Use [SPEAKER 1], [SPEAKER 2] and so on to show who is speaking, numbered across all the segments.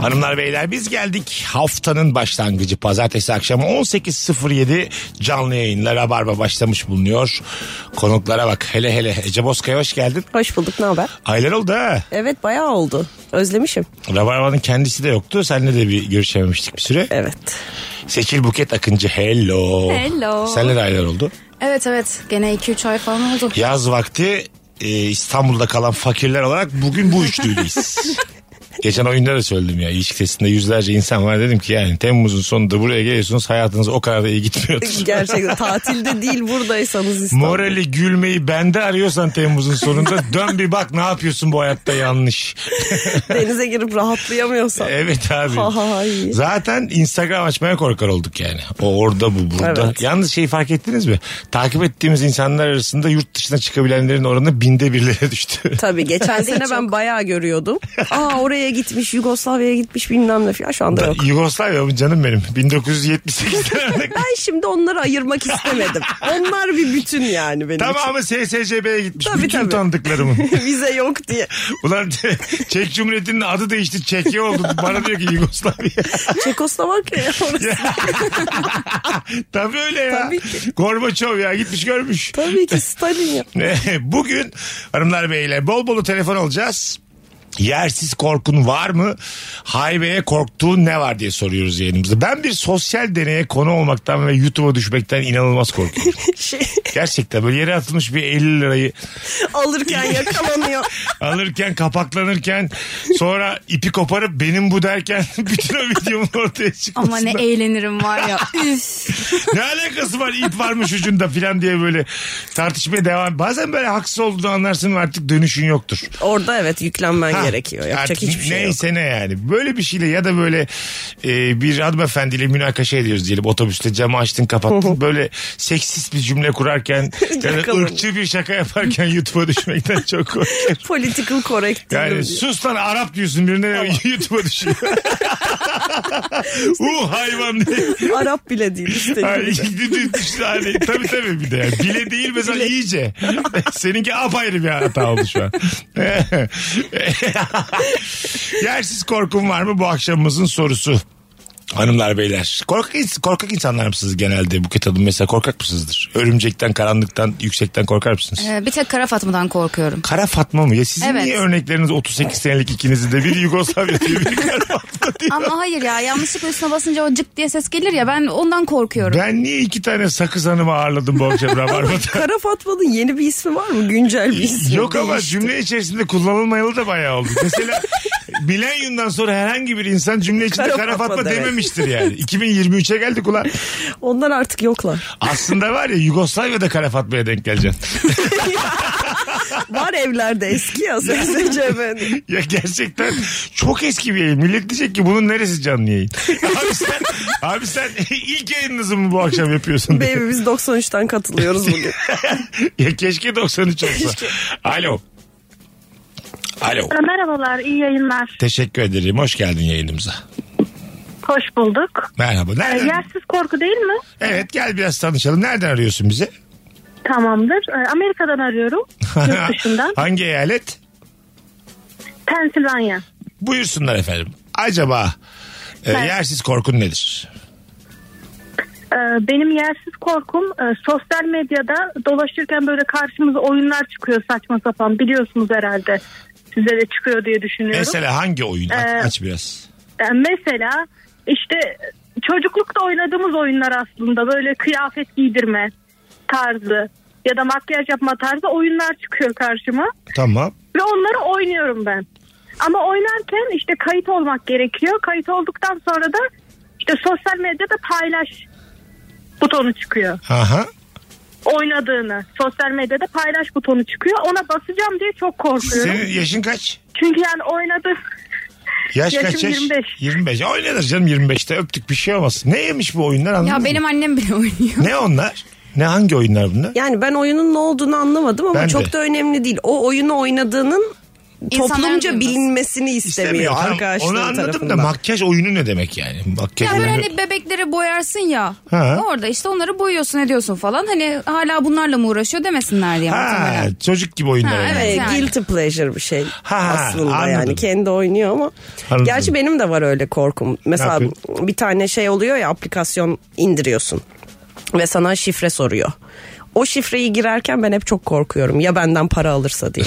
[SPEAKER 1] Hanımlar beyler biz geldik haftanın başlangıcı pazartesi akşamı 18.07 canlı yayınla Rabarba başlamış bulunuyor. Konuklara bak hele hele Ece Bozkaya hoş geldin.
[SPEAKER 2] Hoş bulduk ne haber?
[SPEAKER 1] Aylar oldu ha.
[SPEAKER 2] Evet bayağı oldu. Özlemişim.
[SPEAKER 1] Rabarba'nın kendisi de yoktu. Seninle de bir görüşememiştik bir süre.
[SPEAKER 2] Evet.
[SPEAKER 1] Seçil Buket Akıncı hello.
[SPEAKER 3] Hello.
[SPEAKER 1] Seninle de aylar oldu.
[SPEAKER 3] Evet evet gene 2-3 ay falan oldu.
[SPEAKER 1] Yaz vakti e, İstanbul'da kalan fakirler olarak bugün bu üçlüyleyiz. Geçen oyunda da söyledim ya ilişki testinde yüzlerce insan var dedim ki yani Temmuz'un sonunda buraya geliyorsunuz hayatınız o kadar da iyi gitmiyordur.
[SPEAKER 2] Gerçekten tatilde değil buradaysanız İstanbul.
[SPEAKER 1] Morali gülmeyi bende arıyorsan Temmuz'un sonunda dön bir bak ne yapıyorsun bu hayatta yanlış.
[SPEAKER 2] Denize girip rahatlayamıyorsan.
[SPEAKER 1] Evet abi.
[SPEAKER 2] Hay.
[SPEAKER 1] Zaten Instagram açmaya korkar olduk yani. O orada bu burada.
[SPEAKER 2] Evet.
[SPEAKER 1] Yalnız şeyi fark ettiniz mi? Takip ettiğimiz insanlar arasında yurt dışına çıkabilenlerin oranı binde birlere düştü.
[SPEAKER 2] Tabii geçen sene ben bayağı görüyordum. Aa oraya gitmiş, Yugoslavya'ya gitmiş bilmem ne falan şu anda yok.
[SPEAKER 1] Yugoslavya mı canım benim? 1978'den
[SPEAKER 2] Ben şimdi onları ayırmak istemedim. Onlar bir bütün yani benim için.
[SPEAKER 1] Tamamı SSCB'ye gitmiş.
[SPEAKER 2] Tabii,
[SPEAKER 1] Bütün
[SPEAKER 2] tabii.
[SPEAKER 1] tanıdıklarımın.
[SPEAKER 2] Vize yok diye.
[SPEAKER 1] Ulan Çek Cumhuriyeti'nin adı değişti. Çekya oldu. Bana diyor ki Yugoslavya.
[SPEAKER 2] Çekoslovakya ya orası.
[SPEAKER 1] Tabii öyle ya.
[SPEAKER 2] Tabii ki.
[SPEAKER 1] Gorbaçov ya gitmiş görmüş.
[SPEAKER 2] Tabii ki Stalin ya.
[SPEAKER 1] Bugün hanımlar beyler bol bol telefon alacağız. Yersiz korkun var mı? Haybe'ye korktuğun ne var diye soruyoruz yayınımızda. Ben bir sosyal deneye konu olmaktan ve YouTube'a düşmekten inanılmaz korkuyorum.
[SPEAKER 2] Şey,
[SPEAKER 1] Gerçekten böyle yere atılmış bir 50 lirayı
[SPEAKER 2] alırken yakalanıyor.
[SPEAKER 1] alırken kapaklanırken sonra ipi koparıp benim bu derken bütün o videomun ortaya çıkmasına.
[SPEAKER 3] Ama ne eğlenirim var ya. Üf.
[SPEAKER 1] ne alakası var ip varmış ucunda filan diye böyle tartışmaya devam. Bazen böyle haksız olduğunu anlarsın ve artık dönüşün yoktur.
[SPEAKER 2] Orada evet yüklenmen
[SPEAKER 1] Ha,
[SPEAKER 2] gerekiyor. Yapacak
[SPEAKER 1] artık
[SPEAKER 2] hiçbir şey yok.
[SPEAKER 1] Neyse ne yani. Böyle bir şeyle ya da böyle e, bir hanımefendiyle münakaşa ediyoruz diyelim. Otobüste camı açtın kapattın. böyle seksist bir cümle kurarken ya da
[SPEAKER 2] Yakalanıyor.
[SPEAKER 1] ırkçı bir şaka yaparken YouTube'a düşmekten çok korkuyorum.
[SPEAKER 2] Political correct.
[SPEAKER 1] Yani
[SPEAKER 2] Yani,
[SPEAKER 1] sus lan Arap diyorsun birine YouTube'a düşüyor. uh hayvan diye.
[SPEAKER 2] Arap bile değil işte.
[SPEAKER 1] Ay, işte hani, tabii tabii bir de. yani. Bile değil mesela iyice. Seninki apayrı bir hata oldu şu an. Yersiz korkum var mı bu akşamımızın sorusu. Hanımlar beyler korkak, ins- korkak insanlar mısınız genelde Buket Hanım mesela korkak mısınızdır? Örümcekten karanlıktan yüksekten korkar mısınız?
[SPEAKER 3] Ee, bir tek Kara Fatma'dan korkuyorum.
[SPEAKER 1] Kara Fatma mı? Ya sizin
[SPEAKER 3] Evet.
[SPEAKER 1] niye örnekleriniz 38 senelik ikinizin de biri Yugoslavya diyor biri Kara Fatma diyor.
[SPEAKER 3] Ama hayır ya yanlışlıkla üstüne basınca o cık diye ses gelir ya ben ondan korkuyorum.
[SPEAKER 1] Ben niye iki tane sakız hanımı ağırladım bu akşam Rabarba'da?
[SPEAKER 2] Kara Fatma'nın yeni bir ismi var mı? Güncel bir ismi.
[SPEAKER 1] Yok ama
[SPEAKER 2] değişti.
[SPEAKER 1] cümle içerisinde kullanılmayalı da bayağı oldu. Mesela milenyumdan sonra herhangi bir insan cümle içinde
[SPEAKER 2] Kara
[SPEAKER 1] kara fatma
[SPEAKER 2] Fatma, evet.
[SPEAKER 1] dememiştir yani. 2023'e geldik ulan.
[SPEAKER 2] Onlar artık yoklar.
[SPEAKER 1] Aslında var ya Yugoslavya'da kara fatmaya denk geleceksin.
[SPEAKER 2] Var evlerde eski ya SSCB'nin.
[SPEAKER 1] Ya gerçekten çok eski bir yayın. Millet diyecek ki bunun neresi canlı yayın? Abi sen, abi sen ilk yayınınızı mı bu akşam yapıyorsun? diye.
[SPEAKER 2] Baby biz 93'ten katılıyoruz bugün.
[SPEAKER 1] ya keşke 93 olsa. Alo. Alo.
[SPEAKER 4] Merhabalar, iyi yayınlar.
[SPEAKER 1] Teşekkür ederim. Hoş geldin yayınımıza.
[SPEAKER 4] Hoş bulduk.
[SPEAKER 1] Merhaba.
[SPEAKER 4] Ee,
[SPEAKER 1] Nereden?
[SPEAKER 4] Yersiz korku değil mi?
[SPEAKER 1] Evet gel biraz tanışalım. Nereden arıyorsun bizi?
[SPEAKER 4] Tamamdır. Ee, Amerika'dan arıyorum. Yurt dışından.
[SPEAKER 1] Hangi eyalet?
[SPEAKER 4] Pensilvanya.
[SPEAKER 1] Buyursunlar efendim. Acaba e,
[SPEAKER 4] Ben-
[SPEAKER 1] yersiz korkun nedir?
[SPEAKER 4] Ee, benim yersiz korkum e, sosyal medyada dolaşırken böyle karşımıza oyunlar çıkıyor saçma sapan. Biliyorsunuz herhalde. Size de çıkıyor diye düşünüyorum.
[SPEAKER 1] Mesela hangi oyun? Aç,
[SPEAKER 4] Ee,
[SPEAKER 1] aç biraz.
[SPEAKER 4] Yani mesela işte çocuklukta oynadığımız oyunlar aslında böyle kıyafet giydirme tarzı ya da makyaj yapma tarzı oyunlar çıkıyor karşıma.
[SPEAKER 1] Tamam.
[SPEAKER 4] Ve onları oynuyorum ben. Ama oynarken işte kayıt olmak gerekiyor. Kayıt olduktan sonra da işte sosyal medyada paylaş butonu çıkıyor.
[SPEAKER 1] Aha.
[SPEAKER 4] Oynadığını sosyal medyada paylaş butonu çıkıyor. Ona basacağım diye çok korkuyorum.
[SPEAKER 1] Senin yaşın kaç?
[SPEAKER 4] Çünkü yani oynadım.
[SPEAKER 1] Yaş
[SPEAKER 4] Yaşım
[SPEAKER 1] kaç yaş?
[SPEAKER 4] 25.
[SPEAKER 1] 25. Oynanır canım 25'te öptük bir şey olmaz. Ne yemiş bu oyunlar anladın
[SPEAKER 2] Hmm.
[SPEAKER 3] Ya
[SPEAKER 1] mı?
[SPEAKER 3] benim annem bile oynuyor.
[SPEAKER 1] Ne onlar? Ne hangi oyunlar bunlar?
[SPEAKER 2] Yani ben oyunun ne olduğunu anlamadım ama
[SPEAKER 1] Ben
[SPEAKER 2] çok
[SPEAKER 1] de.
[SPEAKER 2] da önemli değil. O oyunu oynadığının
[SPEAKER 3] İnsanların
[SPEAKER 2] toplumca
[SPEAKER 3] duyması.
[SPEAKER 2] bilinmesini istemiyor,
[SPEAKER 1] İstemiyor. Tamam,
[SPEAKER 2] arkadaşları
[SPEAKER 1] Onu anladım
[SPEAKER 2] tarafından.
[SPEAKER 1] da makyaj oyunu ne demek yani? Makyaj
[SPEAKER 3] Ya böyle
[SPEAKER 1] oyunu.
[SPEAKER 3] hani bebekleri boyarsın ya.
[SPEAKER 1] Ha.
[SPEAKER 3] Orada işte onları boyuyorsun ediyorsun falan. Hani hala bunlarla mı uğraşıyor demesinler diye.
[SPEAKER 1] Ha,
[SPEAKER 3] muhtemelen.
[SPEAKER 1] çocuk gibi oyunlar.
[SPEAKER 3] Ha,
[SPEAKER 1] oynuyor.
[SPEAKER 3] evet.
[SPEAKER 2] Evet,
[SPEAKER 3] Yani.
[SPEAKER 2] Ee, guilty pleasure bir şey
[SPEAKER 1] Ha,
[SPEAKER 2] aslında
[SPEAKER 1] anladım.
[SPEAKER 2] yani kendi oynuyor ama
[SPEAKER 1] Anladım.
[SPEAKER 2] gerçi benim de var öyle korkum mesela
[SPEAKER 1] yapıyorsun?
[SPEAKER 2] bir tane şey oluyor ya aplikasyon indiriyorsun ve sana şifre soruyor o şifreyi girerken ben hep çok korkuyorum ya benden para alırsa diye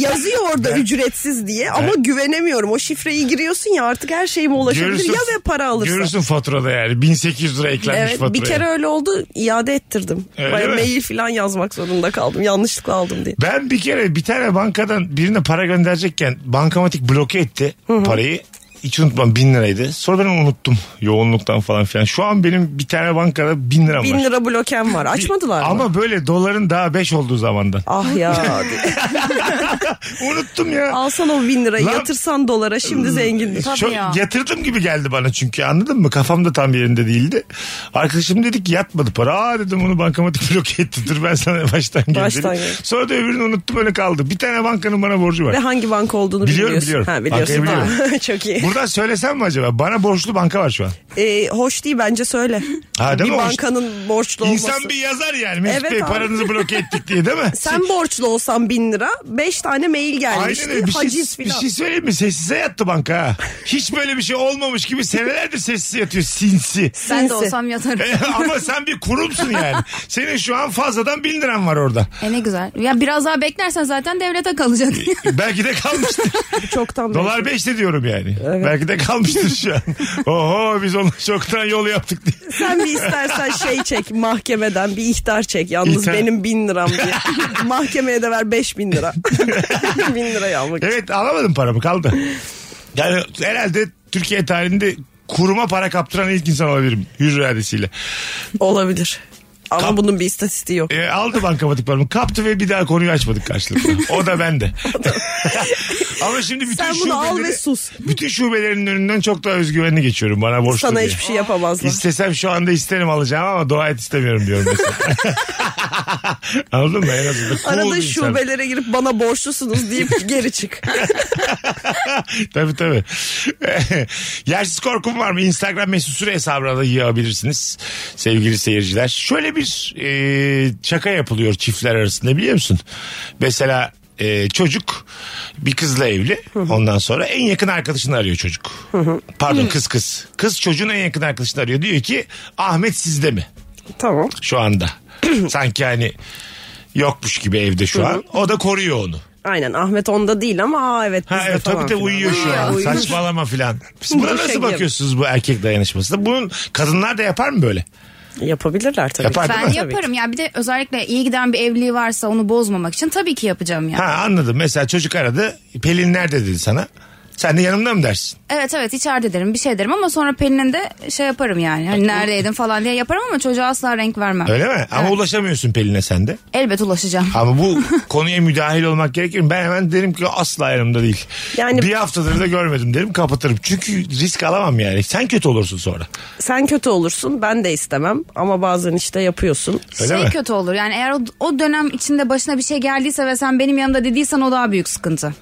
[SPEAKER 2] yazıyor orada ücretsiz diye ama güvenemiyorum o şifreyi giriyorsun ya artık her şeyime ulaşabilir
[SPEAKER 1] Görürsün-
[SPEAKER 2] ya ve para alırsa
[SPEAKER 1] Görürsün faturada yani 1800 lira eklenmiş
[SPEAKER 2] Evet
[SPEAKER 1] faturaya.
[SPEAKER 2] bir kere öyle oldu iade ettirdim.
[SPEAKER 1] Öyle
[SPEAKER 2] Baya
[SPEAKER 1] mi?
[SPEAKER 2] mail falan yazmak zorunda kaldım. Yanlışlıkla aldım diye.
[SPEAKER 1] Ben bir kere bir tane bankadan birine para gönderecekken bankamatik bloke etti parayı. Hiç unutmam bin liraydı. Sonra ben onu unuttum yoğunluktan falan filan. Şu an benim bir tane bankada bin liram var.
[SPEAKER 2] Bin lira blokem var. Açmadılar mı?
[SPEAKER 1] Ama böyle doların daha 5 olduğu zamandan.
[SPEAKER 2] Ah ya. diye.
[SPEAKER 1] Unuttum ya.
[SPEAKER 2] Alsan o bin lirayı
[SPEAKER 1] Lan-
[SPEAKER 2] yatırsan dolara şimdi zengin.
[SPEAKER 3] Tabii
[SPEAKER 1] Çok
[SPEAKER 3] ya.
[SPEAKER 1] yatırdım gibi geldi bana çünkü anladın mı? Kafam da tam yerinde değildi. Arkadaşım dedi ki yatmadı para. Aa dedim onu bankamatik bloke etti. Dur ben sana baştan
[SPEAKER 2] Baştan
[SPEAKER 1] göndereyim.
[SPEAKER 2] gel.
[SPEAKER 1] Sonra da öbürünü unuttum öyle kaldı. Bir tane bankanın bana borcu var.
[SPEAKER 2] Ve hangi banka olduğunu
[SPEAKER 1] Biliyorum,
[SPEAKER 2] bilmiyorsun.
[SPEAKER 1] biliyorum.
[SPEAKER 2] Ha, biliyorsun.
[SPEAKER 1] Bankayı
[SPEAKER 2] Ha, Çok iyi.
[SPEAKER 1] Buradan söylesem mi acaba? Bana borçlu banka var şu an.
[SPEAKER 2] Ee, hoş değil bence söyle.
[SPEAKER 1] Ha, değil
[SPEAKER 2] bir
[SPEAKER 1] mi? Hoş-
[SPEAKER 2] bankanın borçlu olması.
[SPEAKER 1] İnsan bir yazar yani. Mesut
[SPEAKER 2] Evet
[SPEAKER 1] Bey
[SPEAKER 2] abi.
[SPEAKER 1] paranızı bloke ettik diye değil mi?
[SPEAKER 2] Sen borçlu olsan bin lira beş tane mail gelmişti.
[SPEAKER 1] Aynen öyle. Bir şey,
[SPEAKER 2] haciz
[SPEAKER 1] bir
[SPEAKER 2] filan.
[SPEAKER 1] şey söyleyeyim mi? Sessize yattı banka ha. Hiç böyle bir şey olmamış gibi senelerdir sessize yatıyor sinsi.
[SPEAKER 3] Ben de
[SPEAKER 2] Sinsi.
[SPEAKER 3] olsam yatarım.
[SPEAKER 1] Ama sen bir kurumsun yani. Senin şu an fazladan 1000 liran var orada.
[SPEAKER 3] E ne güzel. Ya biraz daha beklersen zaten devlete kalacak.
[SPEAKER 1] Belki de kalmıştır.
[SPEAKER 2] Çoktan
[SPEAKER 1] Dolar
[SPEAKER 2] belki.
[SPEAKER 1] 5 de diyorum yani. Belki de kalmıştır şu an. Oho biz onu çoktan yol yaptık diye.
[SPEAKER 2] Sen bir istersen şey çek mahkemeden bir ihtar çek. Yalnız
[SPEAKER 1] İhtar.
[SPEAKER 2] benim bin liram diye. Mahkemeye de ver beş bin lira. bin lirayı almak için.
[SPEAKER 1] Evet alamadım paramı kaldı. Yani herhalde Türkiye tarihinde kuruma para kaptıran ilk insan olabilirim. Hür iradesiyle.
[SPEAKER 2] Olabilir. Ama bunun bir istatistiği yok.
[SPEAKER 1] E, aldı bankamatik paramı kaptı ve bir daha konuyu açmadık karşılıklı. O da bende. Ama şimdi bütün
[SPEAKER 2] Sen bunu al
[SPEAKER 1] şubeleri-
[SPEAKER 2] ve sus.
[SPEAKER 1] Bütün şubelerin önünden çok daha özgüvenli geçiyorum bana borçlu
[SPEAKER 2] Sana
[SPEAKER 1] diye.
[SPEAKER 2] hiçbir şey yapamazlar.
[SPEAKER 1] İstesem şu anda isterim alacağım ama dua et istemiyorum diyorum mesela. Anladın mı? En azından cool
[SPEAKER 2] Arada
[SPEAKER 1] bir insan.
[SPEAKER 2] şubelere girip bana borçlusunuz deyip geri çık.
[SPEAKER 1] tabii tabii. Yersiz korkum var mı? Instagram mesut süre hesabına da yiyebilirsiniz. Sevgili seyirciler. Şöyle bir e, şaka yapılıyor çiftler arasında biliyor musun? Mesela e, çocuk bir kızla evli. Ondan sonra en yakın arkadaşını arıyor çocuk. Pardon kız kız. Kız çocuğun en yakın arkadaşını arıyor. Diyor ki Ahmet sizde mi?
[SPEAKER 2] tamam.
[SPEAKER 1] Şu anda. Sanki hani yokmuş gibi evde şu an. O da koruyor onu.
[SPEAKER 2] Aynen Ahmet onda değil ama aa evet
[SPEAKER 1] Ha
[SPEAKER 2] bizde
[SPEAKER 1] evet,
[SPEAKER 2] falan
[SPEAKER 1] tabii de
[SPEAKER 2] filan.
[SPEAKER 1] uyuyor şu
[SPEAKER 2] Aa,
[SPEAKER 1] an.
[SPEAKER 2] uyumuş.
[SPEAKER 1] Saçmalama filan. Siz Buna
[SPEAKER 2] Bu şey
[SPEAKER 1] nasıl
[SPEAKER 2] şekil.
[SPEAKER 1] bakıyorsunuz bu erkek dayanışmasına? Bunun kadınlar da yapar mı böyle?
[SPEAKER 2] Yapabilirler tabii.
[SPEAKER 1] Yapar değil
[SPEAKER 3] ben
[SPEAKER 1] mi?
[SPEAKER 3] yaparım. Ya bir de özellikle iyi giden bir evliliği varsa onu bozmamak için tabii ki yapacağım ya.
[SPEAKER 1] Ha anladım. Mesela çocuk aradı. Pelin nerede dedi sana. Sen de yanımda mı dersin?
[SPEAKER 3] Evet evet içeride derim bir şey derim ama sonra Pelin'in de şey yaparım yani. Hani neredeydin falan diye yaparım ama çocuğa asla renk vermem.
[SPEAKER 1] Öyle mi? Ama
[SPEAKER 3] Evet.
[SPEAKER 1] ulaşamıyorsun Pelin'e sen de.
[SPEAKER 3] Elbet ulaşacağım.
[SPEAKER 1] Ama bu konuya müdahil olmak gerekir mi? Ben hemen derim ki asla yanımda değil.
[SPEAKER 2] Yani-
[SPEAKER 1] Bir haftadır da görmedim derim kapatırım. Çünkü risk alamam yani. Sen kötü olursun sonra.
[SPEAKER 2] Sen kötü olursun ben de istemem ama bazen işte yapıyorsun.
[SPEAKER 1] Öyle
[SPEAKER 3] şey
[SPEAKER 1] mi?
[SPEAKER 3] kötü olur yani eğer o, o dönem içinde başına bir şey geldiyse ve sen benim yanımda dediysen o daha büyük sıkıntı.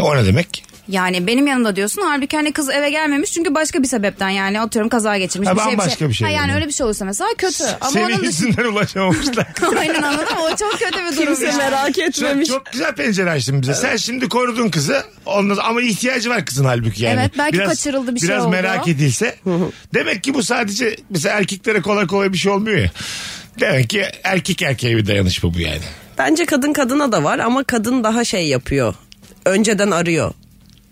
[SPEAKER 1] O ne demek?
[SPEAKER 3] Yani benim yanımda diyorsun halbuki hani kız eve gelmemiş çünkü başka bir sebepten yani atıyorum kaza geçirmiş.
[SPEAKER 1] Ha,
[SPEAKER 3] bir şey,
[SPEAKER 1] bambaşka bir şey
[SPEAKER 3] Ha, yani
[SPEAKER 1] yani.
[SPEAKER 3] öyle bir şey olursa mesela kötü ama
[SPEAKER 1] Senin
[SPEAKER 3] onun dışında...
[SPEAKER 1] yüzünden ulaşamamışlar.
[SPEAKER 3] Aynen anladım o çok kötü bir durum.
[SPEAKER 2] Kimse
[SPEAKER 3] yani.
[SPEAKER 2] merak etmemiş.
[SPEAKER 1] Çok güzel pencere açtın bize. Sen şimdi korudun kızı. Ondan, ama ihtiyacı var kızın halbuki yani.
[SPEAKER 3] Evet, belki kaçırıldı, bir şey
[SPEAKER 1] Biraz
[SPEAKER 3] oldu.
[SPEAKER 1] merak edilse. Demek ki bu sadece mesela erkeklere kolay kolay bir şey olmuyor ya. Demek ki erkek erkeğe bir dayanışma bu yani.
[SPEAKER 2] Bence kadın kadına da var ama kadın daha şey yapıyor. Önceden arıyor.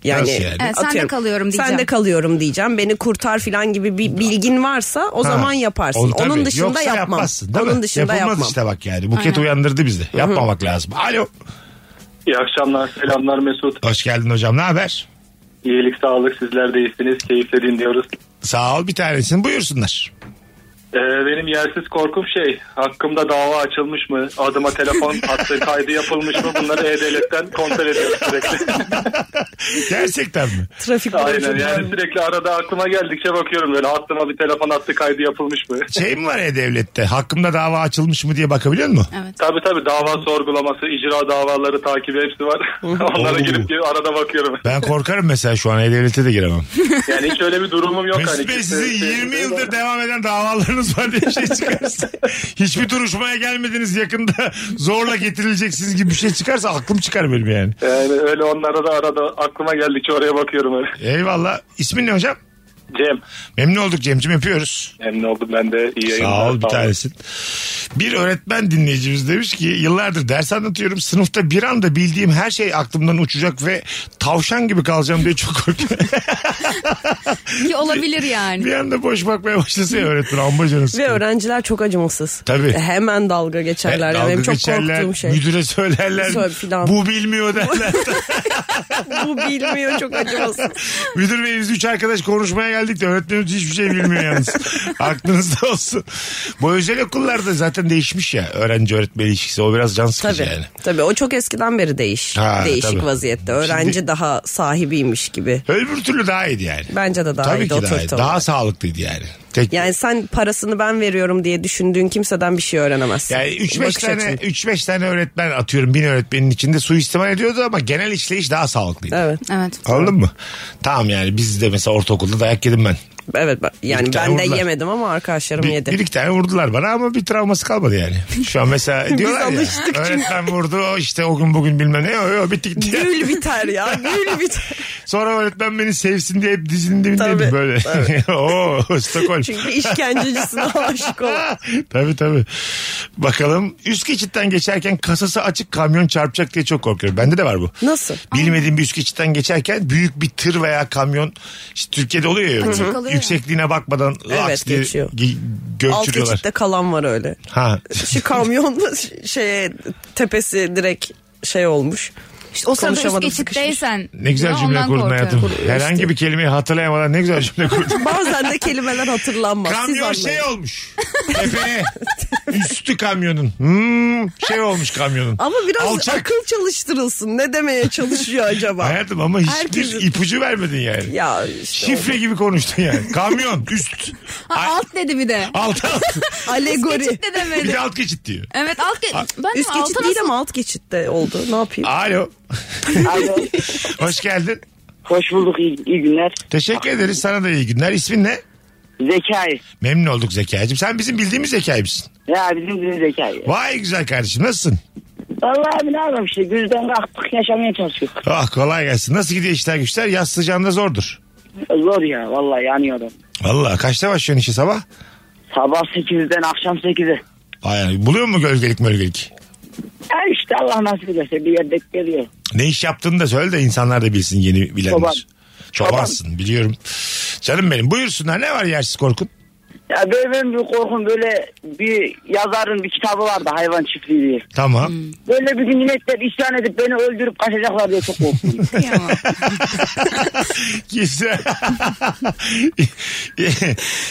[SPEAKER 2] Yani,
[SPEAKER 1] Nasıl yani?
[SPEAKER 3] Evet, sen de
[SPEAKER 2] atıyorum,
[SPEAKER 3] kalıyorum
[SPEAKER 2] Sen
[SPEAKER 3] diyeceğim.
[SPEAKER 2] de kalıyorum diyeceğim. Beni kurtar filan gibi bir bilgin varsa o
[SPEAKER 1] Ha.
[SPEAKER 2] zaman yaparsın.
[SPEAKER 1] O- tabii.
[SPEAKER 2] Onun dışında
[SPEAKER 1] Yoksa
[SPEAKER 2] yapmam.
[SPEAKER 1] yapmazsın, değil mi?
[SPEAKER 2] Onun dışında
[SPEAKER 1] Yapılmaz
[SPEAKER 2] yapmam.
[SPEAKER 1] işte bak yani. Buket uyandırdı bizi. Yapmamak lazım. Alo.
[SPEAKER 5] İyi akşamlar, selamlar Mesut.
[SPEAKER 1] Hoş geldin hocam. Ne haber?
[SPEAKER 5] İyilik, sağlık, sizler de iyisiniz. Keyifle dinliyoruz.
[SPEAKER 1] Sağ ol bir tanesin. Buyursunlar.
[SPEAKER 5] Ee, benim yersiz korkum şey hakkımda dava açılmış mı? Adıma telefon hattı kaydı yapılmış mı? Bunları E-Devlet'ten kontrol ediyorum sürekli.
[SPEAKER 1] Gerçekten mi?
[SPEAKER 2] Trafik
[SPEAKER 5] Aynen
[SPEAKER 2] Aynen,
[SPEAKER 5] yani sürekli arada aklıma geldikçe bakıyorum böyle hattıma bir telefon hattı kaydı yapılmış mı?
[SPEAKER 1] Şey mi var E-Devlet'te? Hakkımda dava açılmış mı diye bakabiliyor musun?
[SPEAKER 3] Evet.
[SPEAKER 5] Tabii tabii dava sorgulaması, icra davaları takibi hepsi var. Onlara
[SPEAKER 1] Oo.
[SPEAKER 5] girip girip arada bakıyorum.
[SPEAKER 1] Ben korkarım mesela şu an E-Devlet'e de giremem.
[SPEAKER 5] Yani hiç öyle bir durumum yok.
[SPEAKER 1] Mesut
[SPEAKER 5] hani
[SPEAKER 1] Bey
[SPEAKER 5] kimse-
[SPEAKER 6] şey
[SPEAKER 1] sizin 20 yıldır devam eden davalarınız var diye bir şey çıkarsa. hiçbir duruşmaya gelmediniz yakında zorla getirileceksiniz gibi bir şey çıkarsa aklım çıkar benim yani.
[SPEAKER 5] Yani öyle onlara da arada aklıma geldikçe oraya bakıyorum öyle.
[SPEAKER 1] Eyvallah. İsmin ne hocam?
[SPEAKER 5] Cem.
[SPEAKER 1] Memnun olduk Cem'cim öpüyoruz.
[SPEAKER 5] Memnun oldum ben de. iyi yayınlar.
[SPEAKER 1] Sağ ol bir tanesin. Bir öğretmen dinleyicimiz demiş ki yıllardır ders anlatıyorum sınıfta bir anda bildiğim her şey aklımdan uçacak ve tavşan gibi kalacağım diye çok korkuyorum.
[SPEAKER 3] Ki olabilir yani.
[SPEAKER 1] bir anda boş bakmaya başlasa ya öğretmen amma canı
[SPEAKER 2] Ve
[SPEAKER 1] sıkılır.
[SPEAKER 2] öğrenciler çok acımasız. E,
[SPEAKER 1] Tabii.
[SPEAKER 2] Hemen dalga geçerler.
[SPEAKER 1] Dalga
[SPEAKER 2] yani benim çok
[SPEAKER 1] geçerler,
[SPEAKER 2] korktuğum şey.
[SPEAKER 1] Müdüre söylerler.
[SPEAKER 2] Söyle filan.
[SPEAKER 1] Bu bilmiyor derler.
[SPEAKER 2] Bu bilmiyor çok acımasız.
[SPEAKER 1] Müdür bey biz üç arkadaş konuşmaya geldik de öğretmenimiz hiçbir şey bilmiyor yalnız. Aklınızda olsun. Bu özel okullarda zaten değişmiş ya öğrenci öğretmen ilişkisi. O biraz can sıkıcı
[SPEAKER 2] Tabii.
[SPEAKER 1] yani.
[SPEAKER 2] Tabii o çok eskiden beri değiş.
[SPEAKER 1] Ha,
[SPEAKER 2] değişik
[SPEAKER 1] tabii.
[SPEAKER 2] vaziyette. Öğrenci
[SPEAKER 1] Şimdi-
[SPEAKER 2] daha sahibiymiş gibi.
[SPEAKER 1] Öbür türlü daha iyiydi yani.
[SPEAKER 2] Bence de daha
[SPEAKER 1] Tabii
[SPEAKER 2] iyiydi
[SPEAKER 1] ki daha
[SPEAKER 2] oturtma.
[SPEAKER 1] iyiydi. Daha sağlıklıydı yani. Tek, yani
[SPEAKER 2] Yani sen parasını ben veriyorum diye düşündüğün kimseden bir şey öğrenemezsin.
[SPEAKER 1] yani 3-5
[SPEAKER 2] Bakış
[SPEAKER 1] tane,
[SPEAKER 2] açın.
[SPEAKER 1] 3-5 tane öğretmen atıyorum bin öğretmenin içinde suistimal ediyordu ama genel işleyiş daha sağlıklıydı.
[SPEAKER 2] Evet.
[SPEAKER 3] Evet.
[SPEAKER 1] Anladın mı? Tamam yani biz de mesela ortaokulda dayak yedim ben.
[SPEAKER 2] Evet ben- yani
[SPEAKER 1] Bir tane
[SPEAKER 2] ben de
[SPEAKER 1] vurdular.
[SPEAKER 2] yemedim ama arkadaşlarım
[SPEAKER 1] Bir,
[SPEAKER 2] yedi.
[SPEAKER 1] bir iki tane vurdular bana ama bir travması kalmadı yani. Şu an mesela diyorlar ya
[SPEAKER 2] alıştık çünkü.
[SPEAKER 1] öğretmen vurdu o işte o gün bugün bilmem ne o, o bitti gitti.
[SPEAKER 2] Gül biter ya gül biter.
[SPEAKER 1] Sonra öğretmen beni sevsin diye hep dizinin dibindeydi
[SPEAKER 2] Tabii,
[SPEAKER 1] böyle. Oo Stockholm.
[SPEAKER 2] Çünkü işkencecisine aşık olan.
[SPEAKER 1] tabii tabii. Bakalım üst geçitten geçerken kasası açık kamyon çarpacak diye çok korkuyorum. Bende de var bu.
[SPEAKER 2] Nasıl?
[SPEAKER 1] Bilmediğim bir üst geçitten geçerken büyük bir tır veya kamyon işte Türkiye'de oluyor ya.
[SPEAKER 3] Açık
[SPEAKER 1] böyle.
[SPEAKER 3] kalıyor ya.
[SPEAKER 1] Yüksekliğine bakmadan
[SPEAKER 2] Evet,
[SPEAKER 1] laks diye
[SPEAKER 2] geçiyor.
[SPEAKER 1] ge-
[SPEAKER 2] Alt
[SPEAKER 1] göçürüyorlar.
[SPEAKER 2] geçitte kalan var öyle.
[SPEAKER 1] Ha.
[SPEAKER 2] Şu Şey, kamyon da ş- şeye tepesi direkt şey olmuş.
[SPEAKER 3] İşte o sırada üst
[SPEAKER 2] Konuşamadım,
[SPEAKER 3] geçitteysen.
[SPEAKER 1] Ne güzel
[SPEAKER 3] ya
[SPEAKER 1] cümle
[SPEAKER 3] ondan
[SPEAKER 1] kurdun
[SPEAKER 3] korkuyorum.
[SPEAKER 1] hayatım. Herhangi bir kelimeyi hatırlayamadan ne güzel cümle kurdun.
[SPEAKER 2] Bazen de kelimeler hatırlanmaz. Siz
[SPEAKER 1] Kamyon
[SPEAKER 2] anlayın.
[SPEAKER 1] şey olmuş. Tepe. Üstü kamyonun. Hmm, şey olmuş kamyonun.
[SPEAKER 2] Ama biraz
[SPEAKER 1] Alçak.
[SPEAKER 2] akıl çalıştırılsın. Ne demeye çalışıyor acaba?
[SPEAKER 1] Hayatım ama hiçbir
[SPEAKER 2] Herkesin-
[SPEAKER 1] ipucu vermedin yani.
[SPEAKER 2] ya işte
[SPEAKER 1] Şifre gibi konuştun yani. Kamyon üst.
[SPEAKER 3] Ha, alt dedi bir de.
[SPEAKER 1] Alt alt.
[SPEAKER 2] o. alegori.
[SPEAKER 3] Geçit de
[SPEAKER 1] Bir
[SPEAKER 3] demedi.
[SPEAKER 1] de alt geçit diyor.
[SPEAKER 3] Evet alt ge- Ben
[SPEAKER 2] Üst
[SPEAKER 3] alta
[SPEAKER 2] geçit değil ama alt geçitte oldu. Ne yapayım?
[SPEAKER 1] Alo.
[SPEAKER 7] Alo.
[SPEAKER 1] Hoş geldin.
[SPEAKER 7] Hoş bulduk. iyi iyi günler.
[SPEAKER 1] Teşekkür ederiz. Sana da iyi günler. İsmin ne?
[SPEAKER 7] Zekai.
[SPEAKER 1] Memnun olduk Zekaycığım. Sen bizim bildiğimiz Zekaymışsın.
[SPEAKER 7] Ya bizim bizim Zekai.
[SPEAKER 1] Vay güzel kardeşim. Nasılsın?
[SPEAKER 7] Vallahi abi ne yapalım işte. Gözden kalktık yaşamaya çalışıyoruz.
[SPEAKER 1] Ah kolay gelsin. Nasıl gidiyor işler güçler? Yaz sıcağında zordur.
[SPEAKER 7] Zor ya vallahi yanıyorum.
[SPEAKER 1] Vallahi kaçta başlıyorsun işe sabah?
[SPEAKER 7] Sabah 8'den akşam 8'e.
[SPEAKER 1] Ay, buluyor mu gölgelik mölgelik?
[SPEAKER 7] Ya işte Allah nasip ederse bir yerde geliyor.
[SPEAKER 1] Ne iş yaptığını da söyle de insanlar da bilsin yeni bilenler.
[SPEAKER 7] Çoban.
[SPEAKER 1] Çobansın biliyorum. Canım benim buyursunlar ne var yersiz korkun?
[SPEAKER 7] Ya böyle benim bir korkum böyle bir yazarın bir kitabı vardı hayvan çiftliği diye.
[SPEAKER 1] Tamam.
[SPEAKER 7] Hmm. Böyle bir gün inekler isyan edip beni öldürüp kaçacaklar diye çok korktum.
[SPEAKER 3] Kıyamam.
[SPEAKER 1] Güzel.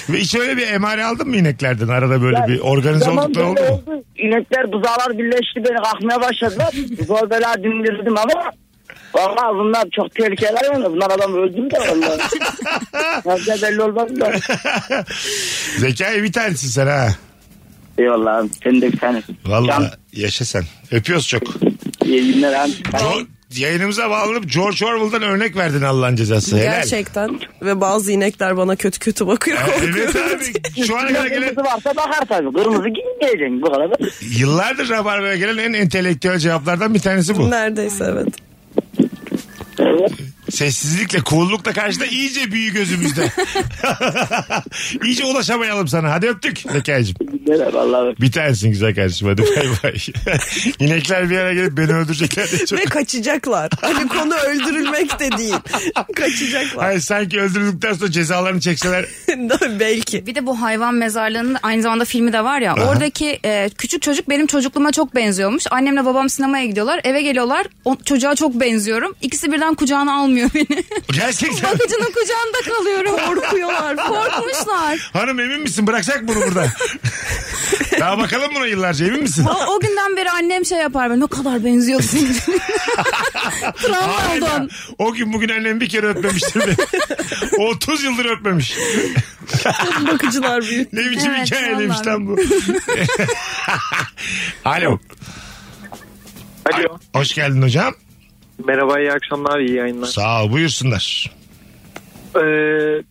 [SPEAKER 1] Ve hiç öyle bir emare aldın mı ineklerden? Arada böyle bir organize
[SPEAKER 7] Zaman
[SPEAKER 1] oldukları oldu
[SPEAKER 7] böyle
[SPEAKER 1] mu?
[SPEAKER 7] oldu. İnekler buzağlar birleşti beni kalkmaya başladılar. Zor bela dindirdim ama Valla bunlar çok tehlikeli hayvanlar. Bunlar adam öldürdü de valla. Nasıl belli olmaz da.
[SPEAKER 1] Zekayı bir tanesin sen ha.
[SPEAKER 7] Eyvallah abi. Senin de bir tanesin.
[SPEAKER 1] Vallahi
[SPEAKER 7] Can,
[SPEAKER 1] yaşa sen. Öpüyoruz çok.
[SPEAKER 7] iyi günler abi.
[SPEAKER 1] Jo- yayınımıza bağlanıp George Orwell'dan örnek verdin Allah'ın cezası. Helal.
[SPEAKER 2] Gerçekten. Ve bazı inekler bana kötü kötü bakıyor.
[SPEAKER 1] Evet
[SPEAKER 2] korkuyorum.
[SPEAKER 1] abi şu ana kadar gelen
[SPEAKER 7] Kırmızı varsa bakar tabii. Kırmızı giyinmeyeceksin bu kadar.
[SPEAKER 1] yıllardır Rabarba'ya gelen en entelektüel cevaplardan bir tanesi bu.
[SPEAKER 2] Neredeyse evet.
[SPEAKER 1] Sessizlikle, cool'lukla karşıda iyice büyü gözümüzde. iyice ulaşamayalım sana. Hadi öptük Zekaycığım.
[SPEAKER 8] Merhaba Allah'ım.
[SPEAKER 1] Bir tanesin güzel kardeşim hadi bay bay. İnekler bir yere gelip beni öldürecekler diye çok.
[SPEAKER 2] Ve kaçacaklar. Hani konu öldürülmek de değil. Kaçacaklar.
[SPEAKER 1] Hayır sanki öldürdükten sonra cezalarını çekseler.
[SPEAKER 2] Belki.
[SPEAKER 3] Bir de bu hayvan mezarlığının aynı zamanda filmi de var ya. Oradaki e, küçük çocuk benim çocukluğuma çok benziyormuş. Annemle babam sinemaya gidiyorlar. Eve geliyorlar. O, çocuğa çok benziyorum. İkisi birden kucağına almıyor beni.
[SPEAKER 1] Gerçekten.
[SPEAKER 3] Bakıcının kucağında kalıyorum. Korkuyorlar. Korkmuşlar.
[SPEAKER 1] Hanım emin misin bıraksak bunu burada? Daha bakalım buna yıllarca emin misin?
[SPEAKER 3] O, o günden beri annem şey yapar ben ne kadar benziyorsun. Travma
[SPEAKER 1] Hala.
[SPEAKER 3] oldum.
[SPEAKER 1] O gün bugün annem bir kere öpmemiştir beni. 30 yıldır öpmemiş.
[SPEAKER 2] Bakıcılar büyük.
[SPEAKER 1] Ne biçim
[SPEAKER 3] Evet,
[SPEAKER 1] hikaye demiş
[SPEAKER 3] vallahi.
[SPEAKER 1] lan bu. Alo.
[SPEAKER 9] Alo.
[SPEAKER 1] Hoş geldin hocam.
[SPEAKER 9] Merhaba iyi akşamlar iyi yayınlar.
[SPEAKER 1] Sağ ol buyursunlar.
[SPEAKER 9] Ee,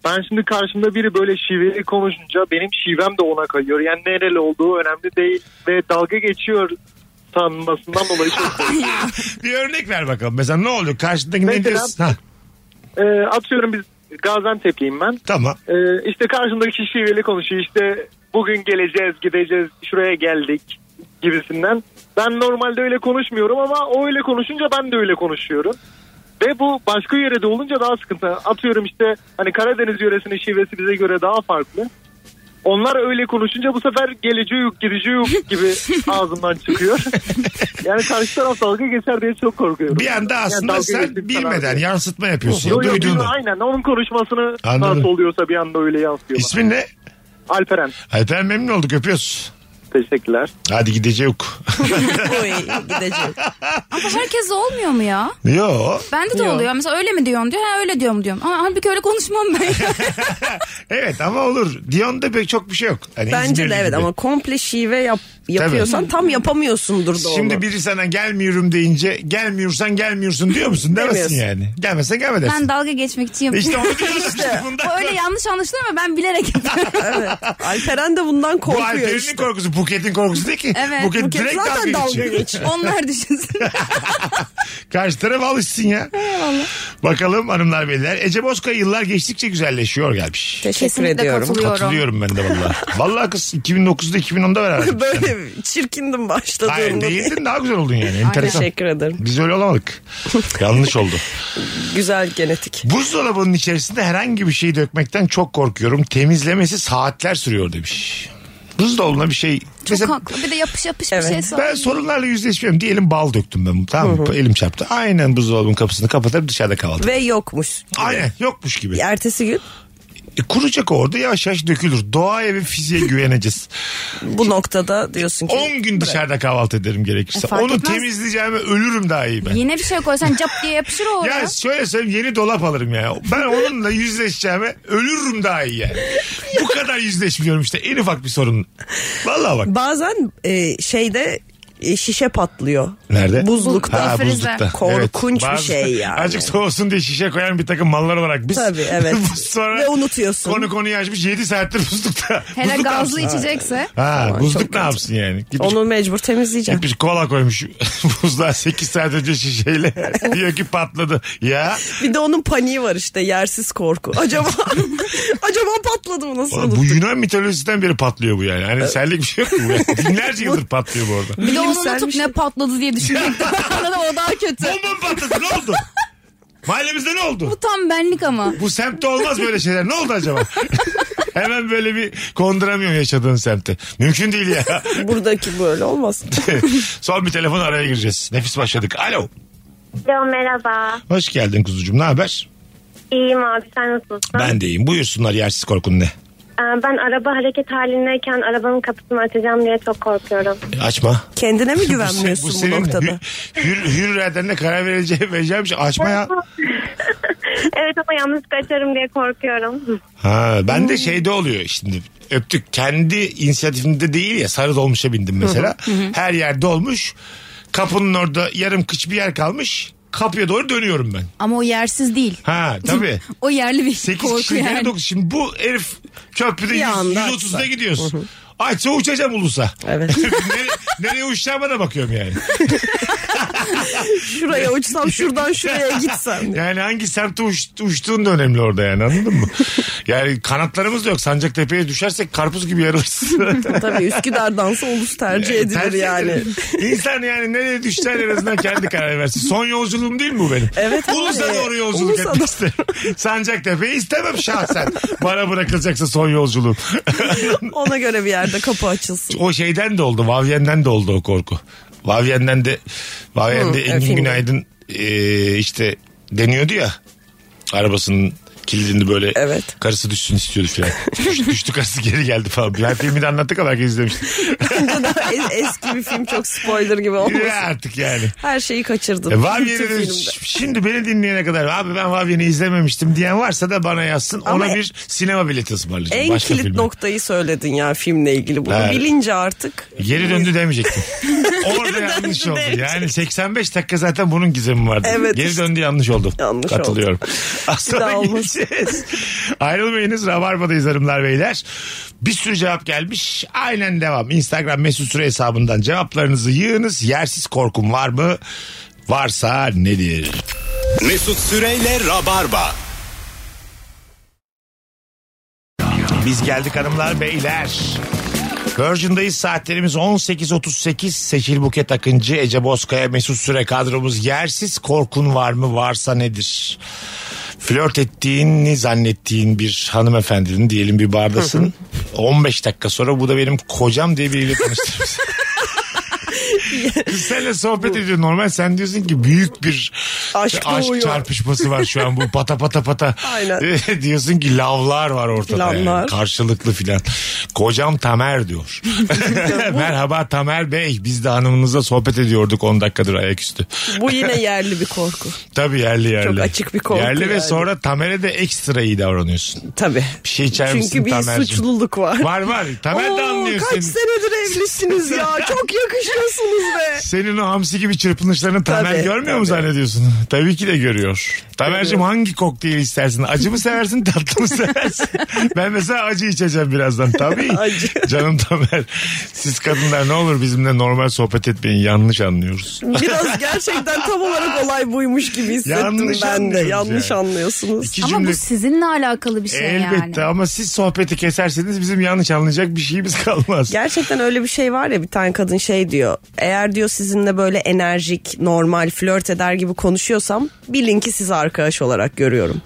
[SPEAKER 9] ben şimdi karşımda biri böyle şiveli konuşunca benim şivem de ona kayıyor. Yani nereli olduğu önemli değil ve dalga geçiyor sanmasından dolayı çok korkuyorum.
[SPEAKER 1] Bir örnek ver bakalım. Mesela ne oluyor? Karşındaki ne
[SPEAKER 9] Mesela-
[SPEAKER 1] diyorsun? Ha,
[SPEAKER 9] Ee, atıyorum biz Gaziantep'liyim ben.
[SPEAKER 1] tamam.
[SPEAKER 9] Ee, işte karşımdaki kişi şiveli konuşuyor. İşte bugün geleceğiz, gideceğiz, şuraya geldik gibisinden. Ben normalde öyle konuşmuyorum ama o öyle konuşunca ben de öyle konuşuyorum. Ve bu başka yörede olunca daha sıkıntı. Atıyorum işte hani Karadeniz yöresinin şivesi bize göre daha farklı. Onlar öyle konuşunca bu sefer geleceği yok, gideceği yok gibi ağzımdan çıkıyor. yani karşı taraf dalga geçer diye çok korkuyorum.
[SPEAKER 1] Bir anda
[SPEAKER 9] Yani
[SPEAKER 1] aslında
[SPEAKER 9] dalga
[SPEAKER 1] sen
[SPEAKER 9] geçip sana-
[SPEAKER 1] bilmeden yansıtma yapıyorsun.
[SPEAKER 9] Yo, yo, yo,
[SPEAKER 1] duyduğunu.
[SPEAKER 9] aynen onun konuşmasını
[SPEAKER 1] Şey Anladım.
[SPEAKER 9] nasıl oluyorsa bir anda öyle yansıyor. bana.
[SPEAKER 1] İsmin ne?
[SPEAKER 9] Alperen.
[SPEAKER 1] Alper memnun olduk öpüyoruz.
[SPEAKER 9] Teşekkürler.
[SPEAKER 1] Hadi gideceğiz. yok.
[SPEAKER 2] Oy gidecek.
[SPEAKER 3] Ama herkes olmuyor mu ya?
[SPEAKER 1] Yo.
[SPEAKER 3] Bende de oluyor. Mesela öyle mi diyorsun diyor. Ha öyle diyorum diyorum. Ama halbuki öyle konuşmam ben.
[SPEAKER 1] Evet ama olur. Dion'da pek çok bir şey yok. Hani
[SPEAKER 2] Bence
[SPEAKER 1] İzmirli
[SPEAKER 2] de evet
[SPEAKER 1] gibi.
[SPEAKER 2] ama komple şive yap, yapıyorsan tam yapamıyorsundur da onu.
[SPEAKER 1] Şimdi biri sana gelmiyorum deyince gelmiyorsan gelmiyorsun diyor musun? Demesin
[SPEAKER 2] Demiyorsun.
[SPEAKER 1] yani. Gelmesen gelme dersin.
[SPEAKER 3] ben dalga geçmek için
[SPEAKER 1] İşte
[SPEAKER 3] yapıyorum.
[SPEAKER 1] onu diyoruz işte. Bundan
[SPEAKER 3] öyle yanlış anlaşılır ama ben bilerek yapıyorum.
[SPEAKER 2] Evet. Alperen de bundan
[SPEAKER 1] bu
[SPEAKER 2] korkuyor
[SPEAKER 1] Alper'in
[SPEAKER 2] işte.
[SPEAKER 1] korkusu Buket'in korkusu değil ki.
[SPEAKER 3] Evet,
[SPEAKER 1] Buket,
[SPEAKER 2] Buket
[SPEAKER 1] direkt
[SPEAKER 2] zaten
[SPEAKER 1] dalga
[SPEAKER 2] dalga
[SPEAKER 1] geçiyor.
[SPEAKER 2] geçiyor.
[SPEAKER 3] Onlar düşünsün.
[SPEAKER 1] Karşı taraf alışsın ya. Bakalım hanımlar beyler. Ece Bozkaya yıllar geçtikçe güzelleşiyor gelmiş.
[SPEAKER 2] Teşekkür
[SPEAKER 3] Kesinlikle
[SPEAKER 2] ediyorum.
[SPEAKER 3] katılıyorum.
[SPEAKER 1] Katılıyorum ben de valla. Valla kız 2009'da 2010'da beraber.
[SPEAKER 2] Böyle çirkindim başladığımda.
[SPEAKER 1] Hayır değildin daha güzel oldun yani. Enteresan.
[SPEAKER 2] Teşekkür ederim.
[SPEAKER 1] Biz öyle olamadık. Yanlış oldu.
[SPEAKER 2] Güzel genetik.
[SPEAKER 1] Buzdolabının içerisinde herhangi bir şey dökmekten çok korkuyorum. Temizlemesi saatler sürüyor demiş. Buzdolabına bir şey.
[SPEAKER 3] Çok
[SPEAKER 1] Mesela
[SPEAKER 3] haklı. Bir de yapış yapış
[SPEAKER 2] Evet.
[SPEAKER 3] bir şey sor.
[SPEAKER 1] Ben sorunlarla yüzleşmiyorum. Diyelim bal döktüm ben. Tamam mı? Elim çarptı. Aynen buzdolabının kapısını kapatıp dışarıda kaldım.
[SPEAKER 2] Ve yokmuş.
[SPEAKER 1] Aynen yokmuş gibi.
[SPEAKER 2] Ertesi gün
[SPEAKER 1] E, kuracak orada yavaş yavaş dökülür. Doğaya ve fiziğe güveneceğiz.
[SPEAKER 2] bu noktada diyorsun ki.
[SPEAKER 1] 10 gün dışarıda kahvaltı ederim gerekirse.
[SPEAKER 3] E, fark
[SPEAKER 1] Onu
[SPEAKER 3] etmez.
[SPEAKER 1] temizleyeceğime ölürüm daha iyi ben.
[SPEAKER 3] Yine bir şey koysan cap diye yapışır o oraya.
[SPEAKER 1] Ya şöyle söyleyeyim yeni dolap alırım ya. Ben onunla yüzleşeceğime ölürüm daha iyi yani. Bu kadar yüzleşmiyorum işte en ufak bir sorun. Vallahi bak.
[SPEAKER 2] Bazen e, şeyde e, şişe patlıyor.
[SPEAKER 1] Nerede?
[SPEAKER 2] Buzlukta.
[SPEAKER 1] Ha,
[SPEAKER 3] Frizde.
[SPEAKER 1] buzlukta.
[SPEAKER 2] Korkunç bir şey yani.
[SPEAKER 1] Azıcık soğusun diye şişe koyan bir takım mallar olarak biz.
[SPEAKER 2] Tabii, evet.
[SPEAKER 1] Sonra
[SPEAKER 2] Ve unutuyorsun.
[SPEAKER 1] Konu konuyu açmış 7 saattir buzlukta.
[SPEAKER 3] Hele
[SPEAKER 1] Buzluk ne
[SPEAKER 3] gazlı
[SPEAKER 1] yapsın?
[SPEAKER 3] içecekse.
[SPEAKER 1] Ha,
[SPEAKER 2] Aman,
[SPEAKER 1] buzluk
[SPEAKER 2] çok
[SPEAKER 1] ne yapsın yani? Gitmiş,
[SPEAKER 2] Onu mecbur temizleyeceğim.
[SPEAKER 1] gitmiş kola koymuş buzluğa 8 saat önce şişeyle. Diyor ki patladı. Ya
[SPEAKER 2] Bir de onun paniği var işte yersiz korku. Acaba acaba patladı mı nasıl
[SPEAKER 1] Oğlum bu
[SPEAKER 2] olur?
[SPEAKER 1] Yunan mitolojisinden beri patlıyor bu yani. Hani senlik bir şey yok mu? bu ya? Binlerce yıldır patlıyor bu arada.
[SPEAKER 3] Bir de onu
[SPEAKER 2] Bilimsel bir
[SPEAKER 3] unutup
[SPEAKER 2] şey.
[SPEAKER 3] ne patladı diye düşünecektim. Anladım o daha kötü.
[SPEAKER 1] Bomba mı patladı? Ne oldu? Mahallemizde ne oldu?
[SPEAKER 3] Bu tam benlik ama.
[SPEAKER 1] Bu semtte olmaz böyle şeyler. Ne oldu acaba? Hemen böyle bir konduramıyorum yaşadığın semti. Mümkün değil ya.
[SPEAKER 2] Buradaki böyle olmaz.
[SPEAKER 1] Son bir telefon araya gireceğiz. Nefis başladık. Alo.
[SPEAKER 10] Alo merhaba.
[SPEAKER 1] Hoş geldin kuzucuğum. Ne haber?
[SPEAKER 10] İyiyim abi sen nasılsun?
[SPEAKER 1] Ben de iyiyim. Buyursunlar yersiz korkun ne?
[SPEAKER 10] Ee, Ben araba hareket halindeyken arabanın kapısını açacağım diye çok korkuyorum.
[SPEAKER 1] E, Açma.
[SPEAKER 2] Kendine mi
[SPEAKER 1] Bu se-
[SPEAKER 2] güvenmiyorsun bu, noktada?
[SPEAKER 1] Hür, hür, hür edenle karar vereceğim, vereceğim şey. Açma ya.
[SPEAKER 10] Evet ama yanlışlıkla açarım diye korkuyorum.
[SPEAKER 1] Ha, ben
[SPEAKER 2] Hmm.
[SPEAKER 1] de şeyde oluyor şimdi öptük kendi inisiyatifimde değil ya sarı dolmuşa bindim mesela. Her yerde olmuş. Kapının orada yarım kıç bir yer kalmış. Kapıya doğru dönüyorum ben.
[SPEAKER 3] Ama o yersiz değil.
[SPEAKER 1] Ha tabii.
[SPEAKER 3] O yerli bir
[SPEAKER 1] 8
[SPEAKER 3] korku
[SPEAKER 1] kişi
[SPEAKER 3] yani.
[SPEAKER 1] yani. Şimdi bu herif köprüde
[SPEAKER 2] Bir
[SPEAKER 1] yüz-
[SPEAKER 2] anda
[SPEAKER 1] 130'da
[SPEAKER 2] atlar.
[SPEAKER 1] gidiyorsun. Açsa uçacağım ulusa.
[SPEAKER 2] Evet.
[SPEAKER 1] nereye, nereye uçacağıma da bakıyorum yani.
[SPEAKER 2] Şuraya uçsam şuradan şuraya gitsem.
[SPEAKER 1] Yani hangi semte uç, uçtuğun da önemli orada yani anladın mı? Yani kanatlarımız da yok. Sancaktepe'ye düşersek karpuz gibi yarılırız.
[SPEAKER 2] Tabii Üsküdar'dansa ulus tercih edilir
[SPEAKER 1] Tercih
[SPEAKER 2] yani.
[SPEAKER 1] ederim. İnsan yani nereye düşsen en azından kendi karar versin. Son yolculuğum değil mi bu benim?
[SPEAKER 2] Evet abi.
[SPEAKER 1] Ulus'a doğru yolculuk
[SPEAKER 2] Ulus'a
[SPEAKER 1] etmek
[SPEAKER 2] doğru.
[SPEAKER 1] isterim. Sancaktepe'yi istemem şahsen. Bana bırakılacaksa son yolculuğum.
[SPEAKER 2] Ona göre bir yerde kapı açılsın.
[SPEAKER 1] o şeyden de oldu. Vavyen'den de oldu o korku. Vavyen'den de Vavyen'de
[SPEAKER 2] Hı,
[SPEAKER 1] Engin
[SPEAKER 2] filmde.
[SPEAKER 1] Günaydın e, işte deniyordu ya arabasının kilidini böyle
[SPEAKER 2] Evet.
[SPEAKER 1] karısı düşsün istiyordu filan. Düş- düştü karısı geri geldi falan. Her filmi de anlattık ama herkes izlemişti.
[SPEAKER 2] Bence de es- eski bir film çok spoiler gibi
[SPEAKER 1] Ya
[SPEAKER 2] olmasın.
[SPEAKER 1] artık yani.
[SPEAKER 2] Her şeyi kaçırdım.
[SPEAKER 1] E,
[SPEAKER 2] Bütün
[SPEAKER 1] Vavyen'i de-
[SPEAKER 2] filmde.
[SPEAKER 1] şimdi beni dinleyene kadar abi ben Vavyen'i izlememiştim diyen varsa da bana yazsın.
[SPEAKER 2] Ama
[SPEAKER 1] ona
[SPEAKER 2] e-
[SPEAKER 1] bir sinema bileti ısmarlayacağım.
[SPEAKER 2] En
[SPEAKER 1] Başka
[SPEAKER 2] kilit
[SPEAKER 1] filme.
[SPEAKER 2] noktayı söyledin ya filmle ilgili. Bunu
[SPEAKER 1] Evet.
[SPEAKER 2] bilince artık.
[SPEAKER 1] Geri döndü demeyecektim. Orada
[SPEAKER 2] döndü
[SPEAKER 1] yanlış oldu.
[SPEAKER 2] demeyecektim.
[SPEAKER 1] Yani 85 dakika zaten bunun gizemi vardı.
[SPEAKER 2] Evet
[SPEAKER 1] Geri
[SPEAKER 2] işte.
[SPEAKER 1] döndü yanlış oldu.
[SPEAKER 2] Yanlış
[SPEAKER 1] Katılıyorum. Az
[SPEAKER 2] Bir daha
[SPEAKER 1] sonra
[SPEAKER 2] olmaz.
[SPEAKER 1] geleceğiz. Ayrılmayınız. Rabarba'dayız hanımlar beyler. Bir sürü cevap gelmiş. Aynen devam. Instagram mesut süre hesabından cevaplarınızı yığınız. Yersiz korkum var mı? Varsa nedir?
[SPEAKER 11] Mesut Süreyle Rabarba.
[SPEAKER 1] Biz geldik hanımlar beyler. Virgin'dayız saatlerimiz 18.38 Seçil Buket Akıncı, Ece Bozkaya, Mesut Süre kadromuz yersiz korkun var mı varsa nedir? Flört ettiğini zannettiğin bir hanımefendinin diyelim bir bardasın 15 dakika sonra bu da benim kocam diye biriyle tanıştırmış. Biz seninle sohbet ediyor normal sen diyorsun ki büyük bir
[SPEAKER 2] Aşk doğuyor.
[SPEAKER 1] çarpışması var şu an bu pata pata pata
[SPEAKER 2] Aynen.
[SPEAKER 1] diyorsun ki lavlar var ortada ortada yani.
[SPEAKER 2] Planlar.
[SPEAKER 1] Karşılıklı filan. Kocam Tamer diyor. Merhaba Tamer Bey. Biz de hanımınızla sohbet ediyorduk 10 dakikadır ayaküstü.
[SPEAKER 2] Bu yine yerli bir korku.
[SPEAKER 1] Tabii yerli yerli.
[SPEAKER 2] açık bir korku
[SPEAKER 1] Yerli ve
[SPEAKER 2] yani.
[SPEAKER 1] sonra Tamer'e de ekstra iyi davranıyorsun.
[SPEAKER 2] Tabii.
[SPEAKER 1] Bir şey içer misin
[SPEAKER 2] Çünkü bir
[SPEAKER 1] Tamer'cim?
[SPEAKER 2] suçluluk var.
[SPEAKER 1] Var var. Tamer de
[SPEAKER 2] Oo,
[SPEAKER 1] anlıyor
[SPEAKER 2] Kaç
[SPEAKER 1] seni.
[SPEAKER 2] senedir evlisiniz ya. Çok yakışıyorsunuz be.
[SPEAKER 1] Senin o hamsi gibi çırpınışlarını Tamer
[SPEAKER 2] Tabii,
[SPEAKER 1] görmüyor mu
[SPEAKER 2] tabii.
[SPEAKER 1] zannediyorsun? Tabii ki de görüyor. Tamer'cim hangi kokteyli istersin? Acı mı seversin tatlı mı seversin? ben mesela acı içeceğim birazdan tabii.
[SPEAKER 2] Acı.
[SPEAKER 1] Canım Tamer siz kadınlar ne olur bizimle normal sohbet etmeyin yanlış anlıyoruz.
[SPEAKER 2] Biraz gerçekten tam olarak olay buymuş gibi hissettim
[SPEAKER 1] Yanlış
[SPEAKER 2] ben de.
[SPEAKER 1] anlıyoruz
[SPEAKER 2] Yanlış
[SPEAKER 1] yani.
[SPEAKER 2] anlıyorsunuz.
[SPEAKER 1] İki
[SPEAKER 3] Ama
[SPEAKER 1] cümle...
[SPEAKER 3] bu sizinle alakalı bir şey
[SPEAKER 1] Elbette
[SPEAKER 3] yani.
[SPEAKER 1] ama siz sohbeti keserseniz bizim yanlış anlayacak bir şeyimiz kalmaz.
[SPEAKER 2] Gerçekten öyle bir şey var ya bir tane kadın şey diyor. Eğer diyor sizinle böyle enerjik, normal, flört eder gibi konuşuyorsam bilin ki sizi arkadaş olarak görüyorum.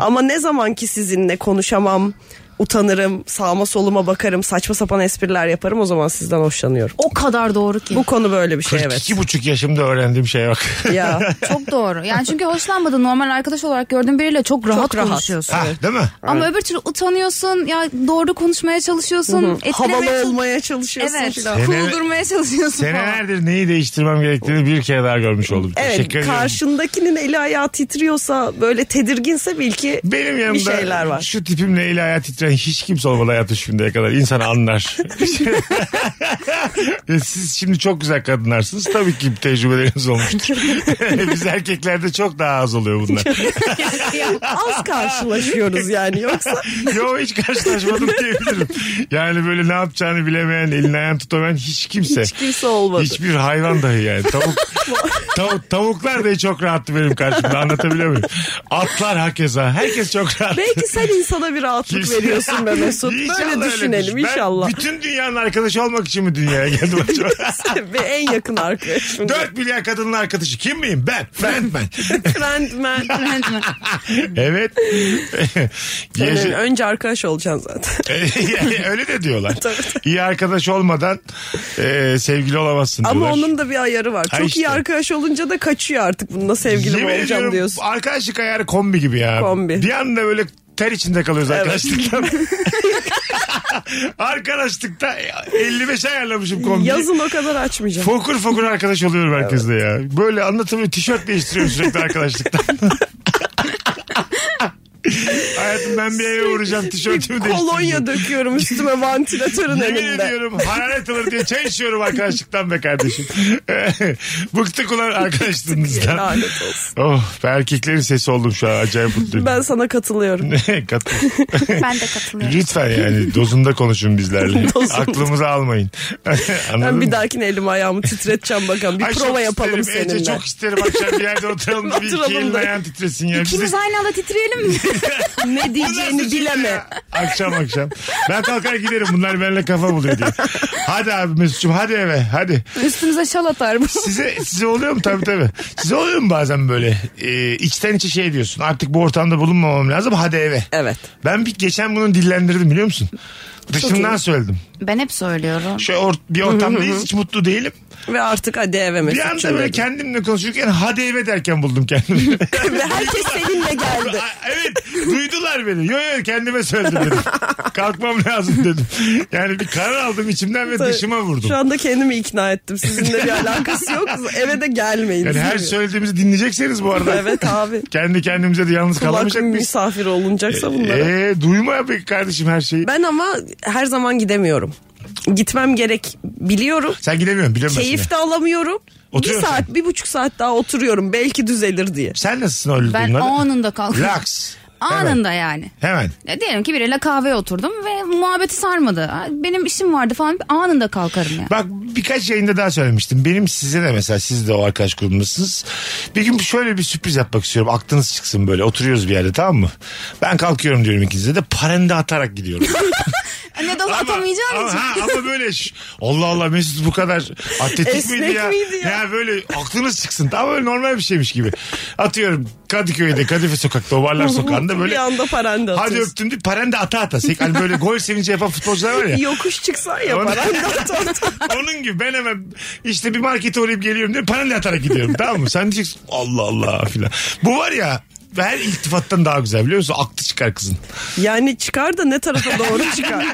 [SPEAKER 2] Ama ne zaman ki sizinle konuşamam, utanırım, sağma soluma bakarım, saçma sapan espriler yaparım o zaman sizden hoşlanıyorum.
[SPEAKER 3] O kadar doğru ki.
[SPEAKER 2] Bu konu böyle bir şey
[SPEAKER 1] 42
[SPEAKER 2] evet.
[SPEAKER 1] buçuk yaşımda öğrendiğim şey bak.
[SPEAKER 2] ya
[SPEAKER 3] Çok doğru. Yani çünkü hoşlanmadığın normal arkadaş olarak gördüğün biriyle çok rahat,
[SPEAKER 2] rahat.
[SPEAKER 3] konuşuyorsun.
[SPEAKER 1] ha, değil mi?
[SPEAKER 3] Ama öbür türlü utanıyorsun. Ya doğru konuşmaya çalışıyorsun. etkilemeye
[SPEAKER 2] havalı
[SPEAKER 3] çalış-
[SPEAKER 2] olmaya çalışıyorsun
[SPEAKER 3] Evet.
[SPEAKER 2] filan.
[SPEAKER 1] Seneler-
[SPEAKER 3] Cool durmaya çalışıyorsun falan.
[SPEAKER 1] Senelerdir neyi değiştirmem gerektiğini bir kere daha görmüş oldum.
[SPEAKER 2] Evet
[SPEAKER 1] Teşekkür ediyorum.
[SPEAKER 2] karşındakinin eli ayağı titriyorsa böyle tedirginse bil ki
[SPEAKER 1] Benim yanımda
[SPEAKER 2] bir şeyler var.
[SPEAKER 1] şu tipimle eli hayat titreyen hiç kimse olmadı hayatı şimdiye kadar. İnsan anlar. Ya Siz şimdi çok güzel kadınlarsınız. Tabii ki tecrübeleriniz olmuştur. Biz erkeklerde çok daha az oluyor bunlar.
[SPEAKER 2] Az karşılaşıyoruz yani yoksa
[SPEAKER 1] Yo hiç karşılaşmadım diyebilirim. Yani böyle ne yapacağını bilemeyen, elini ayağını tutamayan hiç kimse.
[SPEAKER 2] hiç kimse olmadı.
[SPEAKER 1] Hiçbir hayvan dahi yani. Tavuk, tavuk, tavuklar da çok rahattı benim karşımda anlatabiliyor muyum? Atlar hakeza. Herkes çok rahat.
[SPEAKER 2] Belki sen insana bir rahatlık
[SPEAKER 1] Kimse-
[SPEAKER 2] veriyorsun be Mesut.
[SPEAKER 1] İnşallah
[SPEAKER 2] Böyle
[SPEAKER 1] öyle
[SPEAKER 2] düşünelim
[SPEAKER 1] düşün. Ben
[SPEAKER 2] inşallah.
[SPEAKER 1] bütün dünyanın arkadaşı olmak için mi dünyaya geldim acaba?
[SPEAKER 2] Ve en yakın arkadaşım.
[SPEAKER 1] 4 milyar kadının arkadaşı kim miyim ben? Ben ben.
[SPEAKER 2] Friendman.
[SPEAKER 1] evet.
[SPEAKER 2] Senin
[SPEAKER 1] Gece-
[SPEAKER 2] önce arkadaş olacaksın zaten.
[SPEAKER 1] Öyle de diyorlar.
[SPEAKER 2] Tabii, tabii.
[SPEAKER 1] İyi arkadaş olmadan e, sevgili olamazsın
[SPEAKER 2] Ama
[SPEAKER 1] diyorlar.
[SPEAKER 2] onun da bir ayarı var.
[SPEAKER 1] Ha
[SPEAKER 2] Çok
[SPEAKER 1] işte.
[SPEAKER 2] iyi arkadaş olunca da kaçıyor artık. Bununla sevgilim
[SPEAKER 1] Yemin
[SPEAKER 2] olacağım
[SPEAKER 1] ediyorum,
[SPEAKER 2] diyorsun.
[SPEAKER 1] Arkadaşlık ayarı kombi gibi ya.
[SPEAKER 2] Kombi.
[SPEAKER 1] Bir anda böyle ter içinde kalıyoruz
[SPEAKER 2] Evet.
[SPEAKER 1] arkadaşlıktan. Arkadaşlıkta 55 ayarlamışım kombi.
[SPEAKER 2] Yazın o kadar açmayacağım.
[SPEAKER 1] Fokur fokur arkadaş oluyorum herkesle ya. Böyle anlatımı tişört değiştiriyorum sürekli arkadaşlıktan. Hayatım ben bir eve vuracağım tişörtümü değiştireceğim.
[SPEAKER 2] Kolonya döküyorum üstüme vantilatörün
[SPEAKER 1] Yemin
[SPEAKER 2] önünde.
[SPEAKER 1] ediyorum hararet alır diye çay içiyorum arkadaşlıktan be kardeşim. Bıktık ulan arkadaşlığımızdan.
[SPEAKER 2] Lanet olsun.
[SPEAKER 1] oh ben erkeklerin sesi oldum şu an acayip mutluyum.
[SPEAKER 2] Ben sana katılıyorum.
[SPEAKER 1] Katıl.
[SPEAKER 3] Ben de katılıyorum.
[SPEAKER 1] Lütfen yani dozunda konuşun bizlerle.
[SPEAKER 2] Dozunda.
[SPEAKER 1] Aklımızı almayın. Anladın
[SPEAKER 2] Ben
[SPEAKER 1] mı?
[SPEAKER 2] bir dahakine elimi ayağımı titreteceğim bakalım. Bir
[SPEAKER 1] Ay çok
[SPEAKER 2] prova yapalım
[SPEAKER 1] isterim. Ece
[SPEAKER 2] seninle.
[SPEAKER 1] çok isterim akşam bir yerde oturalım da bir iki
[SPEAKER 2] Oturalım
[SPEAKER 1] elin
[SPEAKER 2] da.
[SPEAKER 1] ayağın titresin ya. Bizi-
[SPEAKER 3] İkimiz aynı anda titreyelim mi?
[SPEAKER 2] Ne
[SPEAKER 1] Bu nasıl
[SPEAKER 2] diyeceğini
[SPEAKER 1] cümle
[SPEAKER 2] bileme.
[SPEAKER 1] ya? Akşam akşam. Ben kalkar giderim bunlar benimle kafa buluyor diye. Hadi abi Mesut'cum hadi eve hadi.
[SPEAKER 3] Üstümüze şal atar bu.
[SPEAKER 1] Size size oluyor mu tabii tabii. Size oluyor mu bazen böyle e, içten içe şey diyorsun artık bu ortamda bulunmamam lazım hadi eve.
[SPEAKER 2] Evet.
[SPEAKER 1] Ben bir geçen bunu dillendirdim biliyor musun? Dışımdan söyledim.
[SPEAKER 3] Ben hep söylüyorum.
[SPEAKER 1] Şu or- bir ortamdayız hiç mutlu değilim.
[SPEAKER 2] Ve artık hadi eve
[SPEAKER 1] Bir
[SPEAKER 2] mesut
[SPEAKER 1] anda
[SPEAKER 2] çömelim.
[SPEAKER 1] böyle kendimle konuşurken hadi eve derken buldum kendimi.
[SPEAKER 2] Ve herkes seninle geldi.
[SPEAKER 1] A- evet duydular beni. Yo yo kendime söyledim dedim. Kalkmam lazım dedim. Yani bir karar aldım içimden ve dışıma vurdum.
[SPEAKER 2] Şu anda kendimi ikna ettim. Sizinle bir alakası yok. Eve de gelmeyin.
[SPEAKER 1] Yani her
[SPEAKER 2] Siz-
[SPEAKER 1] söylediğimizi dinleyecekseniz bu arada.
[SPEAKER 2] Evet abi.
[SPEAKER 1] Kendi kendimize de yalnız
[SPEAKER 2] Kulak
[SPEAKER 1] kalamayacak mıyız? E,
[SPEAKER 2] misafir olunacaksa bunlara.
[SPEAKER 1] Eee duyma be kardeşim her şeyi.
[SPEAKER 2] Ben ama her zaman gidemiyorum. Gitmem gerek biliyorum.
[SPEAKER 1] Sen gidemiyorsun biliyorum ben seni.
[SPEAKER 2] Keyif de alamıyorum.
[SPEAKER 1] Oturuyor
[SPEAKER 2] bir saat,
[SPEAKER 1] musun?
[SPEAKER 2] bir buçuk saat daha oturuyorum. Belki düzelir diye.
[SPEAKER 1] Sen nasılsın öyle
[SPEAKER 3] Ben
[SPEAKER 1] durumlarda?
[SPEAKER 3] anında kalkıyorum.
[SPEAKER 1] Laks.
[SPEAKER 3] Anında yani.
[SPEAKER 1] Hemen.
[SPEAKER 3] Ya diyelim ki biriyle kahveye oturdum ve muhabbeti sarmadı. Ay, Benim işim vardı falan anında kalkarım ya.
[SPEAKER 1] Bak birkaç yayında daha söylemiştim. Benim size de mesela siz de o arkadaş grubundasınız. Bir gün şöyle bir sürpriz yapmak istiyorum. Aklınız çıksın böyle. Oturuyoruz bir yerde tamam mı? Ben kalkıyorum diyorum ikinize de parende atarak gidiyorum.
[SPEAKER 3] Ne dolu atamayacağım
[SPEAKER 1] ama,
[SPEAKER 3] için.
[SPEAKER 1] ha, ama böyle ş- Allah Allah Mesut bu kadar atletik
[SPEAKER 2] Esnek
[SPEAKER 1] miydi ya?
[SPEAKER 2] miydi ya?
[SPEAKER 1] böyle aklınız çıksın. Tam böyle normal bir şeymiş gibi. Atıyorum Kadıköy'de Kadife sokakta o barlar sokağında böyle.
[SPEAKER 2] bir anda paranda
[SPEAKER 1] Hadi
[SPEAKER 2] atıyorsun.
[SPEAKER 1] öptüm diye parende ata ata. Sek- Hani böyle gol sevinci yapan futbolcular var ya.
[SPEAKER 2] Yokuş çıksan ya
[SPEAKER 1] Onu-
[SPEAKER 2] paranda atarsın.
[SPEAKER 1] Onun gibi ben hemen işte bir markete uğrayıp geliyorum diye parayla atarak gidiyorum tamam mı? Sen diyeceksin Allah Allah filan. Bu var ya her iltifattan daha güzel biliyor musun? Aklı çıkar kızın.
[SPEAKER 2] Yani çıkar da ne tarafa doğru çıkar.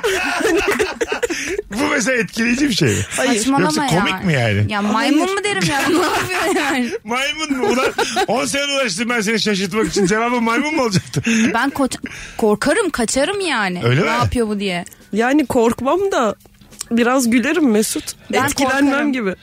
[SPEAKER 1] Bu mesela etkileyici bir şey mi?
[SPEAKER 2] Hayır.
[SPEAKER 3] Saçmalama
[SPEAKER 1] Yoksa
[SPEAKER 3] ya.
[SPEAKER 1] komik mi yani?
[SPEAKER 3] Ya maymun mu derim ya? Ne yapıyor yani?
[SPEAKER 1] Maymun mu? Ulan 10 sene uğraştım ben seni şaşırtmak için cevabın maymun mu olacaktı?
[SPEAKER 3] Ben koç- korkarım kaçarım yani.
[SPEAKER 1] Öyle
[SPEAKER 3] ne
[SPEAKER 1] mi?
[SPEAKER 3] yapıyor bu diye.
[SPEAKER 2] Yani korkmam da biraz gülerim Mesut.
[SPEAKER 3] Ben
[SPEAKER 2] Etkilenmem
[SPEAKER 3] korkarım.
[SPEAKER 2] gibi.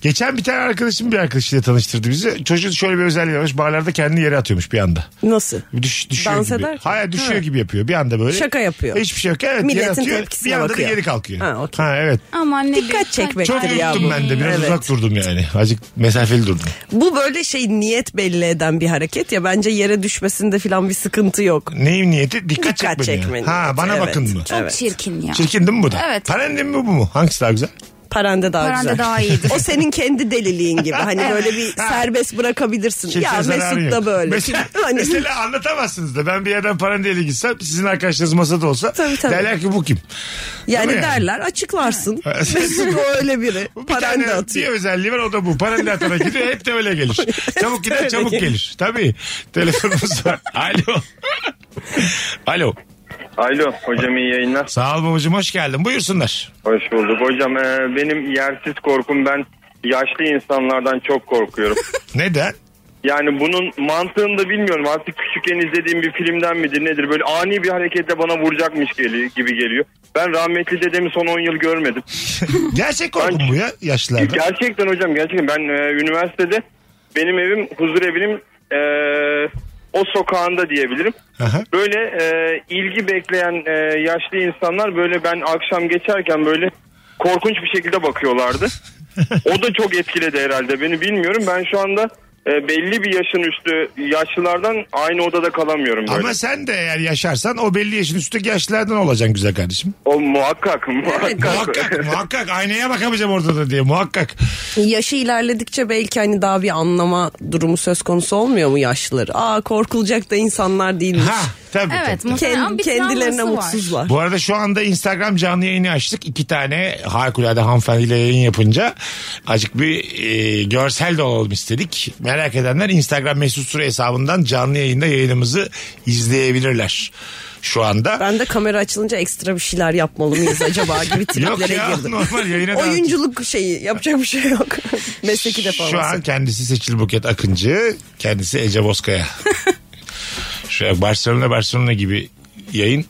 [SPEAKER 1] Geçen bir tane arkadaşım bir arkadaşıyla tanıştırdı bizi. Çocuğun şöyle bir özelliği varmış. Barlarda kendini yere atıyormuş bir anda.
[SPEAKER 2] Nasıl?
[SPEAKER 1] Düş, düşüyor
[SPEAKER 2] Dans
[SPEAKER 1] gibi.
[SPEAKER 2] ederken.
[SPEAKER 1] Hayır düşüyor
[SPEAKER 2] Ha.
[SPEAKER 1] gibi yapıyor. Bir anda böyle.
[SPEAKER 2] Şaka yapıyor.
[SPEAKER 1] Hiçbir şey yok. Evet yere
[SPEAKER 2] Milletin
[SPEAKER 1] atıyor.
[SPEAKER 2] tepkisine
[SPEAKER 1] Bir anda
[SPEAKER 2] bakıyor.
[SPEAKER 1] da geri kalkıyor.
[SPEAKER 2] Ha, okey.
[SPEAKER 1] ha evet.
[SPEAKER 3] Aman ne
[SPEAKER 2] Dikkat
[SPEAKER 3] bir-
[SPEAKER 2] çekmek.
[SPEAKER 1] Çok
[SPEAKER 2] ya
[SPEAKER 1] yuttum
[SPEAKER 2] bu.
[SPEAKER 1] ben de. Biraz
[SPEAKER 2] Evet.
[SPEAKER 1] uzak durdum yani. Azıcık mesafeli durdum.
[SPEAKER 2] Bu böyle şey niyet belli eden bir hareket ya. Bence yere düşmesinde falan bir sıkıntı yok.
[SPEAKER 1] Neyin niyeti? Dikkat,
[SPEAKER 2] Dikkat
[SPEAKER 1] çekmeni.
[SPEAKER 2] çekmeni.
[SPEAKER 1] Ha bana
[SPEAKER 2] Evet.
[SPEAKER 1] bakın mı?
[SPEAKER 3] Çok
[SPEAKER 2] Evet.
[SPEAKER 3] çirkin ya.
[SPEAKER 1] Çirkin değil mi bu da?
[SPEAKER 3] Evet.
[SPEAKER 1] Parendim mi bu mu? Hangisi daha güzel?
[SPEAKER 2] Paranda daha
[SPEAKER 3] Paranda
[SPEAKER 2] güzel.
[SPEAKER 3] daha iyidir.
[SPEAKER 2] O senin kendi deliliğin gibi. Hani böyle bir serbest bırakabilirsin.
[SPEAKER 1] Kimseye
[SPEAKER 2] ya
[SPEAKER 1] zararı
[SPEAKER 2] Mesut
[SPEAKER 1] yok.
[SPEAKER 2] da böyle.
[SPEAKER 1] Mesela,
[SPEAKER 2] hani
[SPEAKER 1] mesela anlatamazsınız da ben bir yerden parandeyle gitsem sizin arkadaşınız masada olsa
[SPEAKER 2] Tabii, tabii.
[SPEAKER 1] derler ki bu kim?
[SPEAKER 2] yani
[SPEAKER 1] Değil mi?
[SPEAKER 2] derler açıklarsın.
[SPEAKER 1] Evet.
[SPEAKER 2] Mesut o öyle biri.
[SPEAKER 1] Bu bir
[SPEAKER 2] Paranda
[SPEAKER 1] tane bir
[SPEAKER 2] atıyor.
[SPEAKER 1] özelliği var o da bu. Paralel atana gidiyor hep de öyle gelir. Çabuk gider
[SPEAKER 2] öyle
[SPEAKER 1] çabuk
[SPEAKER 2] gelir.
[SPEAKER 1] gelir. Tabii. Telefonumuz var. Alo. Alo.
[SPEAKER 6] Alo hocam iyi yayınlar.
[SPEAKER 1] Sağ ol babacığım hoş geldin. Buyursunlar.
[SPEAKER 6] Hoş bulduk. Hocam e, benim yersiz korkum ben yaşlı insanlardan çok korkuyorum.
[SPEAKER 1] Neden?
[SPEAKER 6] Yani bunun mantığını da bilmiyorum. Artık küçükken izlediğim bir filmden midir nedir? Böyle ani bir hareketle bana vuracakmış geli- gibi geliyor. Ben rahmetli dedemi son 10 yıl görmedim.
[SPEAKER 1] Gerçek korkun bu ya yaşlılarda.
[SPEAKER 6] Gerçekten hocam gerçekten ben e, üniversitede benim evim huzur evim e, o sokağında diyebilirim.
[SPEAKER 1] Aha.
[SPEAKER 6] Böyle e, ilgi bekleyen e, yaşlı insanlar böyle ben akşam geçerken böyle korkunç bir şekilde bakıyorlardı. o da çok etkiledi herhalde beni bilmiyorum. Ben şu anda e, belli bir yaşın üstü yaşlılardan aynı odada kalamıyorum böyle.
[SPEAKER 1] Ama sen de eğer yaşarsan o belli yaşın üstteki yaşlılardan olacaksın güzel kardeşim.
[SPEAKER 6] O muhakkak muhakkak.
[SPEAKER 1] Muhakkak muhakkak aynaya bakamayacağım orada da diye muhakkak.
[SPEAKER 2] Yaşı ilerledikçe belki hani daha bir anlama durumu söz konusu olmuyor mu yaşlıları? Aa korkulacak da insanlar değilmiş.
[SPEAKER 1] Ha tabii.
[SPEAKER 3] Evet
[SPEAKER 1] tabii.
[SPEAKER 3] muhtemelen ama
[SPEAKER 2] Kendi,
[SPEAKER 3] bir
[SPEAKER 2] kendilerine
[SPEAKER 3] travması var.
[SPEAKER 2] mutsuzlar.
[SPEAKER 1] Bu arada şu anda Instagram canlı yayını açtık. İki tane harikulade hanımefendiyle yayın yapınca acık bir e, görsel de olalım istedik. Merak edenler Instagram mesut süre hesabından canlı yayında yayınımızı izleyebilirler şu anda.
[SPEAKER 2] Ben de kamera açılınca ekstra bir şeyler yapmalı mıyız acaba gibi
[SPEAKER 1] Yok
[SPEAKER 2] triplere
[SPEAKER 1] ya
[SPEAKER 2] girdim.
[SPEAKER 1] normal yayına devam edeceğiz.
[SPEAKER 2] Oyunculuk şeyi yapacağım bir şey yok. Mesleki deformasyon.
[SPEAKER 1] Şu an kendisi Seçil Buket Akıncı, kendisi Ece Bozkaya. Şu an Barcelona Barcelona gibi yayın.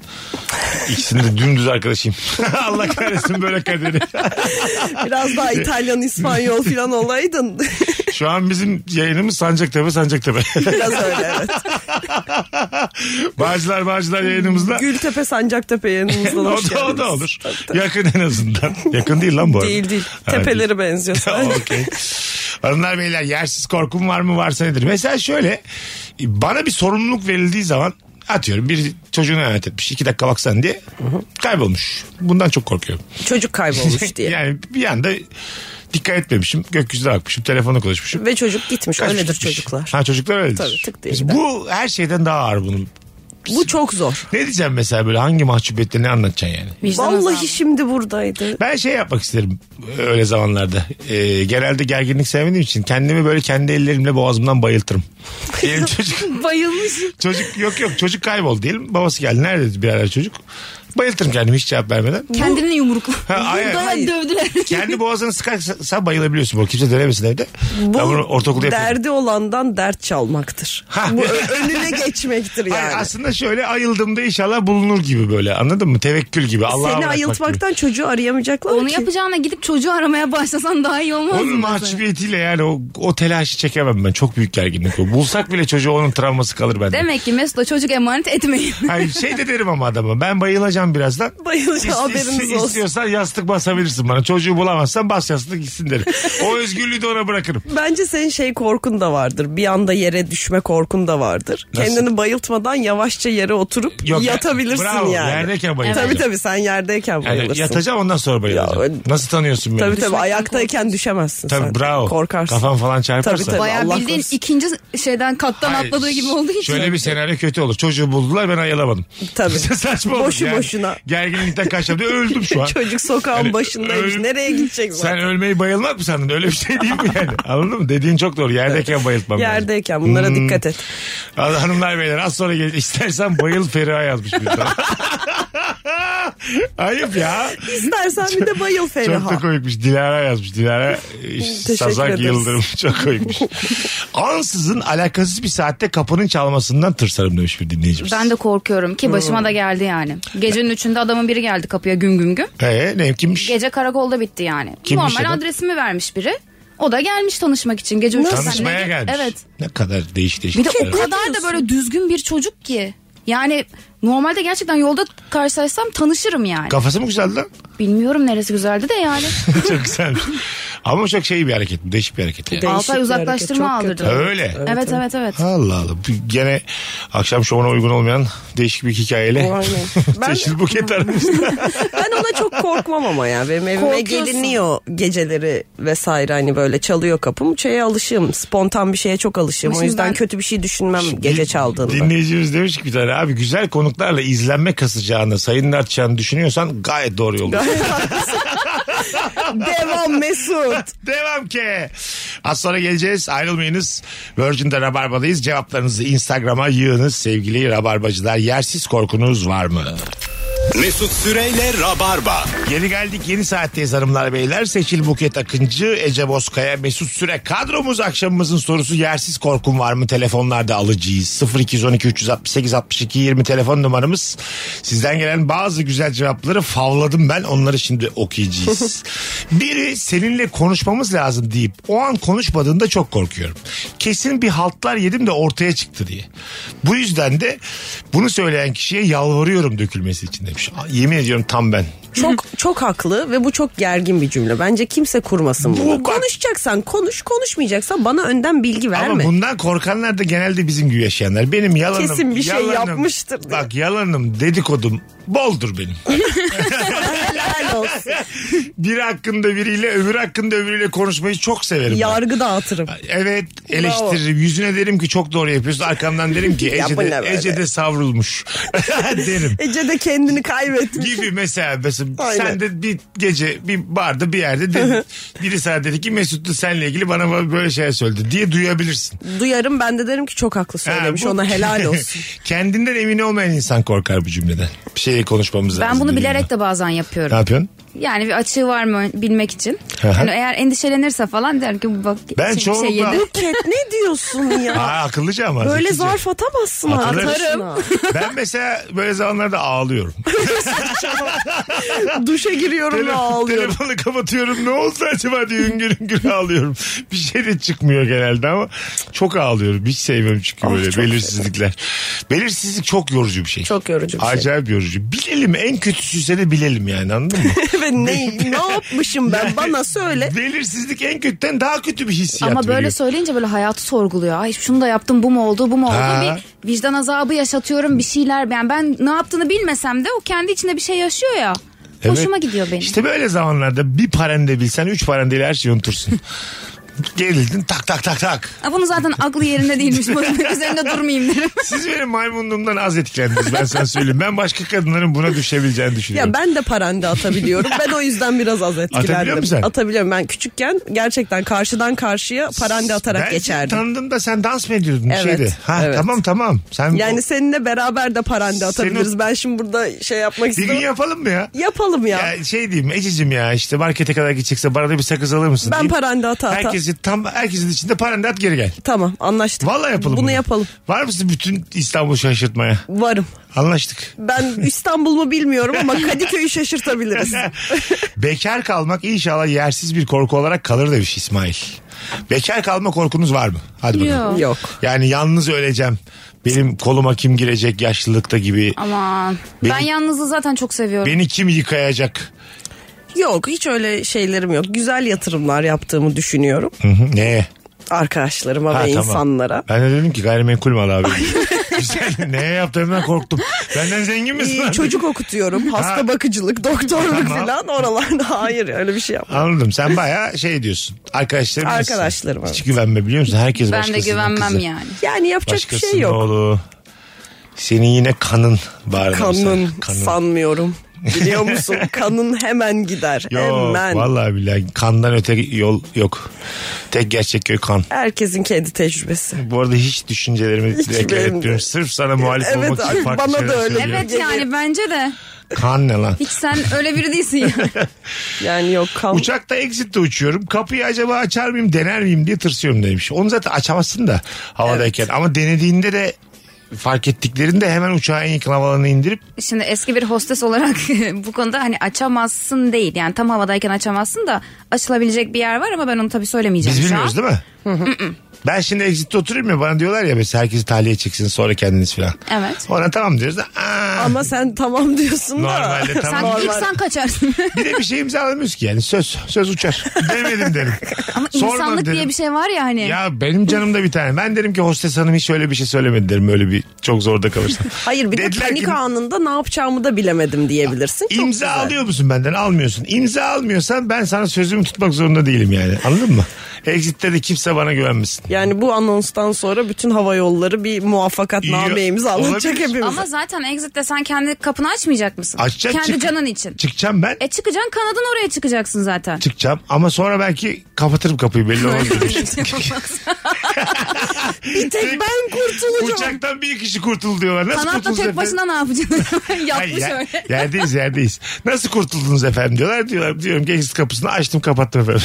[SPEAKER 1] İkisini de dümdüz arkadaşıyım. Allah kahretsin böyle kaderi.
[SPEAKER 2] Biraz daha İtalyan, İspanyol falan olaydın.
[SPEAKER 1] Şu an bizim yayınımız Sancaktepe Sancaktepe.
[SPEAKER 2] Biraz öyle evet.
[SPEAKER 1] Bağcılar Bağcılar yayınımızda.
[SPEAKER 2] Gültepe, Sancaktepe yanımızda.
[SPEAKER 1] o,
[SPEAKER 2] hoş
[SPEAKER 1] da, o da
[SPEAKER 2] geldiniz.
[SPEAKER 1] olur. Yakın en azından. Yakın değil lan bu arada.
[SPEAKER 2] Değil değil.
[SPEAKER 1] Ha,
[SPEAKER 2] Tepeleri benziyor
[SPEAKER 1] Tamam,
[SPEAKER 2] sadece.
[SPEAKER 1] Okey. Hanımlar beyler yersiz korkum var mı varsa nedir? Mesela şöyle bana bir sorumluluk verildiği zaman atıyorum bir çocuğunu emanet etmiş iki dakika baksan diye kaybolmuş. Bundan çok korkuyorum.
[SPEAKER 2] Çocuk kaybolmuş diye.
[SPEAKER 1] yani bir anda dikkat etmemişim gökyüzüne bakmışım telefona konuşmuşum.
[SPEAKER 2] Ve çocuk gitmiş.
[SPEAKER 1] Kaçmış
[SPEAKER 2] Öyledir
[SPEAKER 1] gitmiş.
[SPEAKER 2] çocuklar.
[SPEAKER 1] Ha çocuklar öyledir.
[SPEAKER 2] Tabii, tık diye
[SPEAKER 1] Biz-
[SPEAKER 2] gider.
[SPEAKER 1] Bu her şeyden daha ağır bunun.
[SPEAKER 2] Bu çok zor.
[SPEAKER 1] Ne diyeceğim mesela böyle hangi mahcubiyetle ne anlatacaksın yani?
[SPEAKER 3] Vicdan
[SPEAKER 2] Vallahi
[SPEAKER 3] azabı.
[SPEAKER 2] şimdi buradaydı.
[SPEAKER 1] Ben şey yapmak isterim öyle zamanlarda. Ee, genelde gerginlik sevmediğim için kendimi böyle kendi ellerimle boğazımdan bayıltırım. Diyelim çocuk,
[SPEAKER 2] Bayılmış.
[SPEAKER 1] çocuk yok yok çocuk kayboldu diyelim. Babası geldi nerede bir ara çocuk. Bayıltırım kendimi hiç cevap vermeden.
[SPEAKER 3] Kendini yumrukla.
[SPEAKER 1] Ha, hayır.
[SPEAKER 3] Dayan dövdüler.
[SPEAKER 1] Kendi boğazını sıkarsa bayılabiliyorsun. Bu kimse dönemesin evde.
[SPEAKER 2] Bu
[SPEAKER 1] ben bunu ortaokulda yapıyordum.
[SPEAKER 2] derdi olandan dert çalmaktır.
[SPEAKER 1] Ha.
[SPEAKER 2] Bu ö- önüne geçmektir yani.
[SPEAKER 1] Hayır, aslında şöyle ayıldığımda inşallah bulunur gibi böyle anladın mı? Tevekkül gibi. Allah'a
[SPEAKER 2] Seni
[SPEAKER 1] bırakmak
[SPEAKER 2] ayıltmaktan çocuğu arayamayacaklar
[SPEAKER 3] Onu
[SPEAKER 2] ki.
[SPEAKER 3] yapacağına gidip çocuğu aramaya başlasan daha iyi olmaz
[SPEAKER 1] gibi.
[SPEAKER 3] mı?
[SPEAKER 1] Onun mahcubiyetiyle yani o, o telaşı çekemem ben. Çok büyük gerginlik o. Bulsak bile çocuğu onun travması kalır bende.
[SPEAKER 3] Demek ki Mesut'a çocuk emanet etmeyin.
[SPEAKER 1] Hayır şey de derim ama adama ben bayılacağım birazdan.
[SPEAKER 2] Bayılacağım, haberiniz olsun.
[SPEAKER 1] İstiyorsan yastık basabilirsin bana. Çocuğu bulamazsan bas yastık gitsin derim. O özgürlüğü de ona bırakırım.
[SPEAKER 2] Bence senin şey korkun da vardır. Bir anda yere düşme korkun da vardır.
[SPEAKER 1] Nasıl?
[SPEAKER 2] Kendini bayıltmadan yavaşça yere oturup
[SPEAKER 1] Yok,
[SPEAKER 2] yatabilirsin
[SPEAKER 1] bravo,
[SPEAKER 2] yani.
[SPEAKER 1] Yerdeyken bayılacağım.
[SPEAKER 2] Tabii tabii sen yerdeyken
[SPEAKER 1] Yani
[SPEAKER 2] bayılırsın.
[SPEAKER 1] yatacağım ondan sonra bayılacağım.
[SPEAKER 2] Ya, öyle-
[SPEAKER 1] Nasıl tanıyorsun beni?
[SPEAKER 2] Tabii tabii
[SPEAKER 3] Düşmekten
[SPEAKER 2] ayaktayken
[SPEAKER 3] korkuyorsun.
[SPEAKER 2] düşemezsin
[SPEAKER 1] Tabii,
[SPEAKER 2] sen.
[SPEAKER 1] bravo.
[SPEAKER 2] Korkarsın.
[SPEAKER 1] Kafam falan çarparsa.
[SPEAKER 2] Tabii, tabii.
[SPEAKER 3] Bayağı
[SPEAKER 2] Allah
[SPEAKER 3] bildiğin
[SPEAKER 2] korusun.
[SPEAKER 3] ikinci şeyden kattan
[SPEAKER 1] Hayır,
[SPEAKER 3] atladığı gibi olduğu için.
[SPEAKER 1] Şöyle bir senaryo kötü olur. Çocuğu buldular ben ayılamadım.
[SPEAKER 2] Tabii.
[SPEAKER 1] Saçma olur.
[SPEAKER 2] Boşu
[SPEAKER 1] yani.
[SPEAKER 2] boşuna.
[SPEAKER 1] Gerginlikten kaçtım. diye Öldüm şu an.
[SPEAKER 2] Çocuk sokağın
[SPEAKER 1] Yani
[SPEAKER 2] başındaymış.
[SPEAKER 1] öyle-
[SPEAKER 2] Nereye gidecek
[SPEAKER 1] Sen
[SPEAKER 2] zaten?
[SPEAKER 1] ölmeyi bayılmak mı sandın? Öyle bir şey değil mi yani? Anladın mı? Dediğin çok doğru. Yerdeyken bayıltmam lazım.
[SPEAKER 2] Yerdeyken bunlara
[SPEAKER 1] Hmm.
[SPEAKER 2] dikkat et.
[SPEAKER 1] Az- Hanımlar beyler az sonra gelecek. İstersen bayıl Feriha yazmış bir tane. Ayıp ya.
[SPEAKER 2] İstersen bir de bayıl
[SPEAKER 1] Çok da
[SPEAKER 2] Feriha.
[SPEAKER 1] komikmiş. Dilara yazmış. Dilara e,
[SPEAKER 2] Teşekkür
[SPEAKER 1] Sazak
[SPEAKER 2] ederiz.
[SPEAKER 1] Yıldırım. Çok komikmiş. Ansızın alakasız bir saatte kapının çalmasından tırsarım demiş bir dinleyicimiz.
[SPEAKER 3] Ben de korkuyorum ki başıma
[SPEAKER 2] Hmm.
[SPEAKER 3] da geldi yani. Gecenin üçünde adamın biri geldi kapıya güm güm güm.
[SPEAKER 1] Ee, ne kimmiş?
[SPEAKER 3] Gece karakolda bitti yani.
[SPEAKER 1] Kimmiş
[SPEAKER 3] Normal
[SPEAKER 1] adam?
[SPEAKER 3] adresimi vermiş biri. O da gelmiş tanışmak için gece üçte.
[SPEAKER 1] Tanışmaya
[SPEAKER 3] Sen ne-
[SPEAKER 1] gelmiş.
[SPEAKER 3] Evet.
[SPEAKER 1] Ne kadar değişik değişik.
[SPEAKER 3] Bir de o
[SPEAKER 1] şeyler.
[SPEAKER 3] kadar da böyle düzgün bir çocuk ki. Yani normalde gerçekten yolda karşılaşsam tanışırım yani.
[SPEAKER 1] Kafası mı güzeldi lan?
[SPEAKER 3] Bilmiyorum neresi güzeldi de yani.
[SPEAKER 1] çok güzelmiş. Ama çok şey bir hareket. bu, Değişik bir hareket. Yani.
[SPEAKER 2] Değişik
[SPEAKER 3] Altı ay
[SPEAKER 2] bir
[SPEAKER 3] uzaklaştırma
[SPEAKER 2] hareket, çok
[SPEAKER 3] aldırdım.
[SPEAKER 2] kötü.
[SPEAKER 1] Öyle.
[SPEAKER 3] Evet evet evet.
[SPEAKER 1] Allah Allah. Bu Gene akşam şovuna uygun olmayan değişik bir hikayeyle.
[SPEAKER 2] Aynen. Ben-
[SPEAKER 1] Seçil Buket aramızda.
[SPEAKER 2] Ben ona çok korkmam ama ya. Benim evime
[SPEAKER 3] Korkuyorsun.
[SPEAKER 2] geliniyor geceleri veşire hani böyle çalıyor kapım. Şeye alışığım. Spontan bir şeye çok alışığım. O
[SPEAKER 3] Şimdi
[SPEAKER 2] yüzden
[SPEAKER 3] ben-
[SPEAKER 2] kötü bir şey düşünmem gece çaldığında.
[SPEAKER 1] Dinleyicimiz demiş ki bir tane abi güzel konuklarla izlenme kasacağını, sayının artacağını düşünüyorsan gayet doğru yolda.
[SPEAKER 2] Devam Mesut.
[SPEAKER 1] Devam ki. Az sonra geleceğiz. Ayrılmayınız. Virgin'de Rabarba'dayız. Cevaplarınızı Instagram'a yığınız sevgili Rabarbacılar. Yersiz korkunuz var mı?
[SPEAKER 11] Mesut Süreyle Rabarba.
[SPEAKER 1] Yeni geldik yeni saatteyiz hanımlar beyler. Seçil Buket Akıncı, Ece Bozkaya, Mesut Süre kadromuz akşamımızın sorusu yersiz korkum var mı? Telefonlarda alıcıyız. 0212 368 62 20 telefon numaramız. Sizden gelen bazı güzel cevapları favladım ben onları şimdi okuyacağız. Biri seninle konuşmamız lazım deyip o an konuşmadığında çok korkuyorum. Kesin bir haltlar yedim de ortaya çıktı diye. Bu yüzden de bunu söyleyen kişiye yalvarıyorum dökülmesi için demiş. Yemin ediyorum tam ben.
[SPEAKER 2] Çok çok haklı ve bu çok gergin bir cümle. Bence kimse kurmasın bunu.
[SPEAKER 1] Bu bak-
[SPEAKER 2] Konuşacaksan konuş, konuşmayacaksan bana önden bilgi verme.
[SPEAKER 1] Ama bundan korkanlar da genelde bizim gibi yaşayanlar. Benim yalanım.
[SPEAKER 2] Kesin bir şey
[SPEAKER 1] yalanım-
[SPEAKER 2] yapmıştır diye.
[SPEAKER 1] Bak yalanım dedikodum boldur benim.
[SPEAKER 2] Helal olsun.
[SPEAKER 1] Biri hakkında biriyle öbürü hakkında öbürüyle konuşmayı çok severim. ben.
[SPEAKER 2] Yargı dağıtırım.
[SPEAKER 1] Evet eleştiririm. Yüzüne derim ki çok doğru yapıyorsun. Arkamdan derim ki
[SPEAKER 2] Ya bu ne
[SPEAKER 1] Ece'de,
[SPEAKER 2] böyle?
[SPEAKER 1] Ece'de savrulmuş derim.
[SPEAKER 2] Ece de kendini kaybetmiş.
[SPEAKER 1] Gibi mesela, mesela
[SPEAKER 2] Aynen.
[SPEAKER 1] sen de bir gece bir barda bir yerde dedin, biri sana dedi ki Mesut'tu seninle ilgili bana böyle şeyler söyledi diye duyabilirsin.
[SPEAKER 2] Duyarım ben de derim ki çok haklı
[SPEAKER 1] Ha,
[SPEAKER 2] söylemiş
[SPEAKER 1] bu-
[SPEAKER 2] ona helal olsun.
[SPEAKER 1] Kendinden emin olmayan insan korkar bu cümleden. Bir şeyi konuşmamız lazım.
[SPEAKER 3] Ben bunu
[SPEAKER 1] dediğimde.
[SPEAKER 3] bilerek de bazen
[SPEAKER 1] Ne
[SPEAKER 3] yapıyorum.
[SPEAKER 1] yapıyorsun?
[SPEAKER 3] yani bir açığı var mı bilmek için.
[SPEAKER 1] Aha.
[SPEAKER 3] Yani eğer endişelenirse falan der ki bak şimdi
[SPEAKER 1] Ben
[SPEAKER 3] bir şey
[SPEAKER 1] çoğunlukla-
[SPEAKER 3] yedi.
[SPEAKER 2] Ket ne diyorsun ya?
[SPEAKER 1] Aa, akıllıca ama.
[SPEAKER 2] Böyle
[SPEAKER 1] zekice.
[SPEAKER 2] zarf atamazsın
[SPEAKER 1] Atılır.
[SPEAKER 2] arkadaşına.
[SPEAKER 1] Ben mesela böyle zamanlarda ağlıyorum.
[SPEAKER 2] Duşa giriyorum ve
[SPEAKER 1] Telefon-
[SPEAKER 2] ağlıyorum.
[SPEAKER 1] Telefonu kapatıyorum. Ne oldu acaba diye hüngür hüngür ağlıyorum. Bir şey de çıkmıyor genelde ama çok ağlıyorum. Hiç sevmem çünkü
[SPEAKER 2] Ah,
[SPEAKER 1] böyle
[SPEAKER 2] çok
[SPEAKER 1] belirsizlikler. Belirsizlik çok yorucu bir şey.
[SPEAKER 2] Çok yorucu bir şey.
[SPEAKER 1] Acayip yorucu. Bilelim en kötüsüyse de bilelim yani anladın mı?
[SPEAKER 2] Ve ne, ne yapmışım ben bana söyle.
[SPEAKER 1] Belirsizlik en kötüden daha kötü bir hissiyat
[SPEAKER 3] Ama böyle
[SPEAKER 1] veriyor.
[SPEAKER 3] söyleyince böyle hayatı sorguluyor. Ay şunu da yaptım bu mu oldu bu mu oldu
[SPEAKER 1] Ha.
[SPEAKER 3] bir vicdan azabı yaşatıyorum bir şeyler. Yani ben ne yaptığını bilmesem de o kendi içinde bir şey yaşıyor ya.
[SPEAKER 1] Evet.
[SPEAKER 3] Hoşuma gidiyor benim.
[SPEAKER 1] İşte böyle zamanlarda bir parende bilsen üç parendeyle her şeyi unutursun. Gerildin tak tak tak tak.
[SPEAKER 3] Ha, bunu zaten aklı yerinde değilmiş. Bunun üzerinde durmayayım derim.
[SPEAKER 1] Siz benim maymunluğumdan az etkilendiniz ben sana söyleyeyim. Ben başka kadınların buna düşebileceğini düşünüyorum.
[SPEAKER 2] Ya ben de parende atabiliyorum. Ben o yüzden biraz az etkilendim.
[SPEAKER 1] Atabiliyor musun sen?
[SPEAKER 2] Atabiliyorum. Ben küçükken gerçekten karşıdan karşıya parende atarak
[SPEAKER 1] Ben seni
[SPEAKER 2] geçerdim.
[SPEAKER 1] tanıdım da sen dans mı ediyordun?
[SPEAKER 2] Evet,
[SPEAKER 1] Şeydi. Ha,
[SPEAKER 2] evet.
[SPEAKER 1] Tamam tamam. Sen
[SPEAKER 2] Yani seninle beraber de parende
[SPEAKER 1] Senin-
[SPEAKER 2] atabiliriz. Ben şimdi burada şey yapmak
[SPEAKER 1] bir gün
[SPEAKER 2] istiyorum.
[SPEAKER 1] yapalım mı ya?
[SPEAKER 2] Yapalım ya.
[SPEAKER 1] Ya şey diyeyim Ececiğim ya işte markete kadar gidecekse bana da bir sakız alır mısın?
[SPEAKER 2] Ben
[SPEAKER 1] diyeyim.
[SPEAKER 2] parende ata ata.
[SPEAKER 1] Herkesin tam herkesin içinde parende at geri gel.
[SPEAKER 2] Tamam anlaştık.
[SPEAKER 1] Vallahi yapalım.
[SPEAKER 2] Bunu yapalım.
[SPEAKER 1] Var mısın bütün İstanbul şaşırtmaya?
[SPEAKER 2] Varım.
[SPEAKER 1] Anlaştık.
[SPEAKER 2] Ben İstanbul mu bilmiyorum ama Kadıköy'ü şaşırtabiliriz.
[SPEAKER 1] Bekar kalmak inşallah yersiz bir korku olarak kalır demiş İsmail. Bekar kalma korkunuz var mı? Hadi bakalım.
[SPEAKER 3] Yok.
[SPEAKER 2] Yok.
[SPEAKER 1] Yani yalnız öleceğim. Benim koluma kim girecek yaşlılıkta gibi.
[SPEAKER 3] Aman. Ben
[SPEAKER 1] Benim-
[SPEAKER 3] yalnızlığı zaten çok seviyorum.
[SPEAKER 1] Beni kim yıkayacak?
[SPEAKER 2] Yok hiç öyle şeylerim yok. Güzel yatırımlar yaptığımı düşünüyorum.
[SPEAKER 1] Hı hı. Neye?
[SPEAKER 2] Arkadaşlarıma
[SPEAKER 1] Ha,
[SPEAKER 2] ve
[SPEAKER 1] tamam.
[SPEAKER 2] insanlara.
[SPEAKER 1] Ben de dedim ki gayrimenkul mal abi. Güzel. Neye yaptığımdan korktum. Benden zengin misin?
[SPEAKER 2] Ee,
[SPEAKER 1] lan?
[SPEAKER 2] çocuk okutuyorum, hasta bakıcılık, doktorluk
[SPEAKER 1] Tamam.
[SPEAKER 2] falan oralarda. Hayır öyle bir şey yapmam.
[SPEAKER 1] Anladım. Sen bayağı şey diyorsun. Arkadaşlarım nasıl?
[SPEAKER 2] Arkadaşlarım,
[SPEAKER 1] Hiç
[SPEAKER 2] evet.
[SPEAKER 1] güvenme biliyor musun?
[SPEAKER 3] ben
[SPEAKER 1] Herkes
[SPEAKER 3] de
[SPEAKER 1] başkasının
[SPEAKER 3] güvenmem
[SPEAKER 1] kızı.
[SPEAKER 3] yani.
[SPEAKER 2] Yani yapacak bir
[SPEAKER 1] Başkasının
[SPEAKER 2] şey yok.
[SPEAKER 1] oğlu. Senin yine kanın var.
[SPEAKER 2] Kanın, sanmıyorum. Biliyor musun? Kanın hemen gider.
[SPEAKER 1] Yok
[SPEAKER 2] hemen.
[SPEAKER 1] vallahi billahi kandan öte yol yok. Tek gerçek köy kan.
[SPEAKER 2] Herkesin kendi tecrübesi.
[SPEAKER 1] Bu arada hiç düşüncelerimi
[SPEAKER 2] Hiç
[SPEAKER 1] direkt
[SPEAKER 2] benim de.
[SPEAKER 1] etmiyorum. Sırf sana muhalif
[SPEAKER 2] Evet
[SPEAKER 1] olmak için
[SPEAKER 2] abi,
[SPEAKER 1] farklı
[SPEAKER 2] bana
[SPEAKER 1] şeyler
[SPEAKER 2] da öyle.
[SPEAKER 1] söylüyorum.
[SPEAKER 3] Evet yani bence de.
[SPEAKER 1] Kan ne lan?
[SPEAKER 3] Hiç sen öyle biri değilsin yani.
[SPEAKER 2] Yani yok kan.
[SPEAKER 1] Uçakta exit'te uçuyorum. Kapıyı acaba açar mıyım dener miyim diye tırsıyorum demiş. Onu zaten açamazsın da havadayken. Ama denediğinde de fark ettiklerinde hemen uçağın yakın havalarına indirip
[SPEAKER 3] Şimdi eski bir hostes olarak bu konuda hani açamazsın değil. Yani tam havadayken açamazsın da açılabilecek bir yer var ama ben onu tabii söylemeyeceğim
[SPEAKER 1] biz
[SPEAKER 3] şu an.
[SPEAKER 1] bilmiyoruz değil mi? Ben şimdi exit'te oturuyorum ya bana diyorlar ya mesela herkesi tahliye çeksin sonra kendiniz falan.
[SPEAKER 3] Evet.
[SPEAKER 1] Ona tamam diyoruz da aa,
[SPEAKER 2] Ama sen tamam diyorsun
[SPEAKER 1] Normalde
[SPEAKER 2] da.
[SPEAKER 3] Sen
[SPEAKER 1] tamam.
[SPEAKER 3] ilk sen kaçarsın.
[SPEAKER 1] bir de bir şey imzalamıyoruz ki yani söz söz uçar. Demedim derim.
[SPEAKER 3] ama
[SPEAKER 1] Sormam
[SPEAKER 3] insanlık
[SPEAKER 1] derim.
[SPEAKER 3] diye bir şey var ya hani.
[SPEAKER 1] Ya benim canımda bir tane. Ben derim ki hostes hanım hiç öyle bir şey söylemedi derim. Öyle bir çok zorda kalırsam.
[SPEAKER 2] Hayır bir de
[SPEAKER 1] Dediler
[SPEAKER 2] panik
[SPEAKER 1] ki-
[SPEAKER 2] anında ne yapacağımı da bilemedim diyebilirsin. Çok
[SPEAKER 1] İmza
[SPEAKER 2] güzel.
[SPEAKER 1] alıyor musun benden? Almıyorsun. İmza almıyorsan ben sana sözümü tutmak zorunda değilim yani. Anladın mı? Exit'te de kimse bana güvenmesin.
[SPEAKER 2] Yani bu anonstan sonra bütün hava yolları bir muvaffakat nameyimiz
[SPEAKER 1] İyi,
[SPEAKER 2] alınacak
[SPEAKER 1] olabilir.
[SPEAKER 2] hepimize.
[SPEAKER 3] Ama zaten exit'te sen kendi kapını açmayacak mısın?
[SPEAKER 1] Açacak
[SPEAKER 3] kendi
[SPEAKER 1] çık-
[SPEAKER 3] canın için.
[SPEAKER 1] Çıkacağım ben.
[SPEAKER 3] e çıkacaksın kanadın oraya çıkacaksın zaten.
[SPEAKER 1] Çıkacağım ama sonra belki kapatırım kapıyı belli olmaz.
[SPEAKER 3] şey
[SPEAKER 2] bir tek ben kurtulacağım.
[SPEAKER 1] Uçaktan bir kişi kurtuldu diyorlar. Nasıl
[SPEAKER 3] Kanatla
[SPEAKER 1] kurtuldunuz
[SPEAKER 3] tek
[SPEAKER 1] efendim?
[SPEAKER 3] başına ne yapacaksın?
[SPEAKER 1] Hayır,
[SPEAKER 3] Yapmış
[SPEAKER 1] ya-
[SPEAKER 3] öyle.
[SPEAKER 1] yerdeyiz yerdeyiz. Nasıl kurtuldunuz efendim diyorlar. Diyorlar diyorum gençlik kapısını açtım kapattım efendim.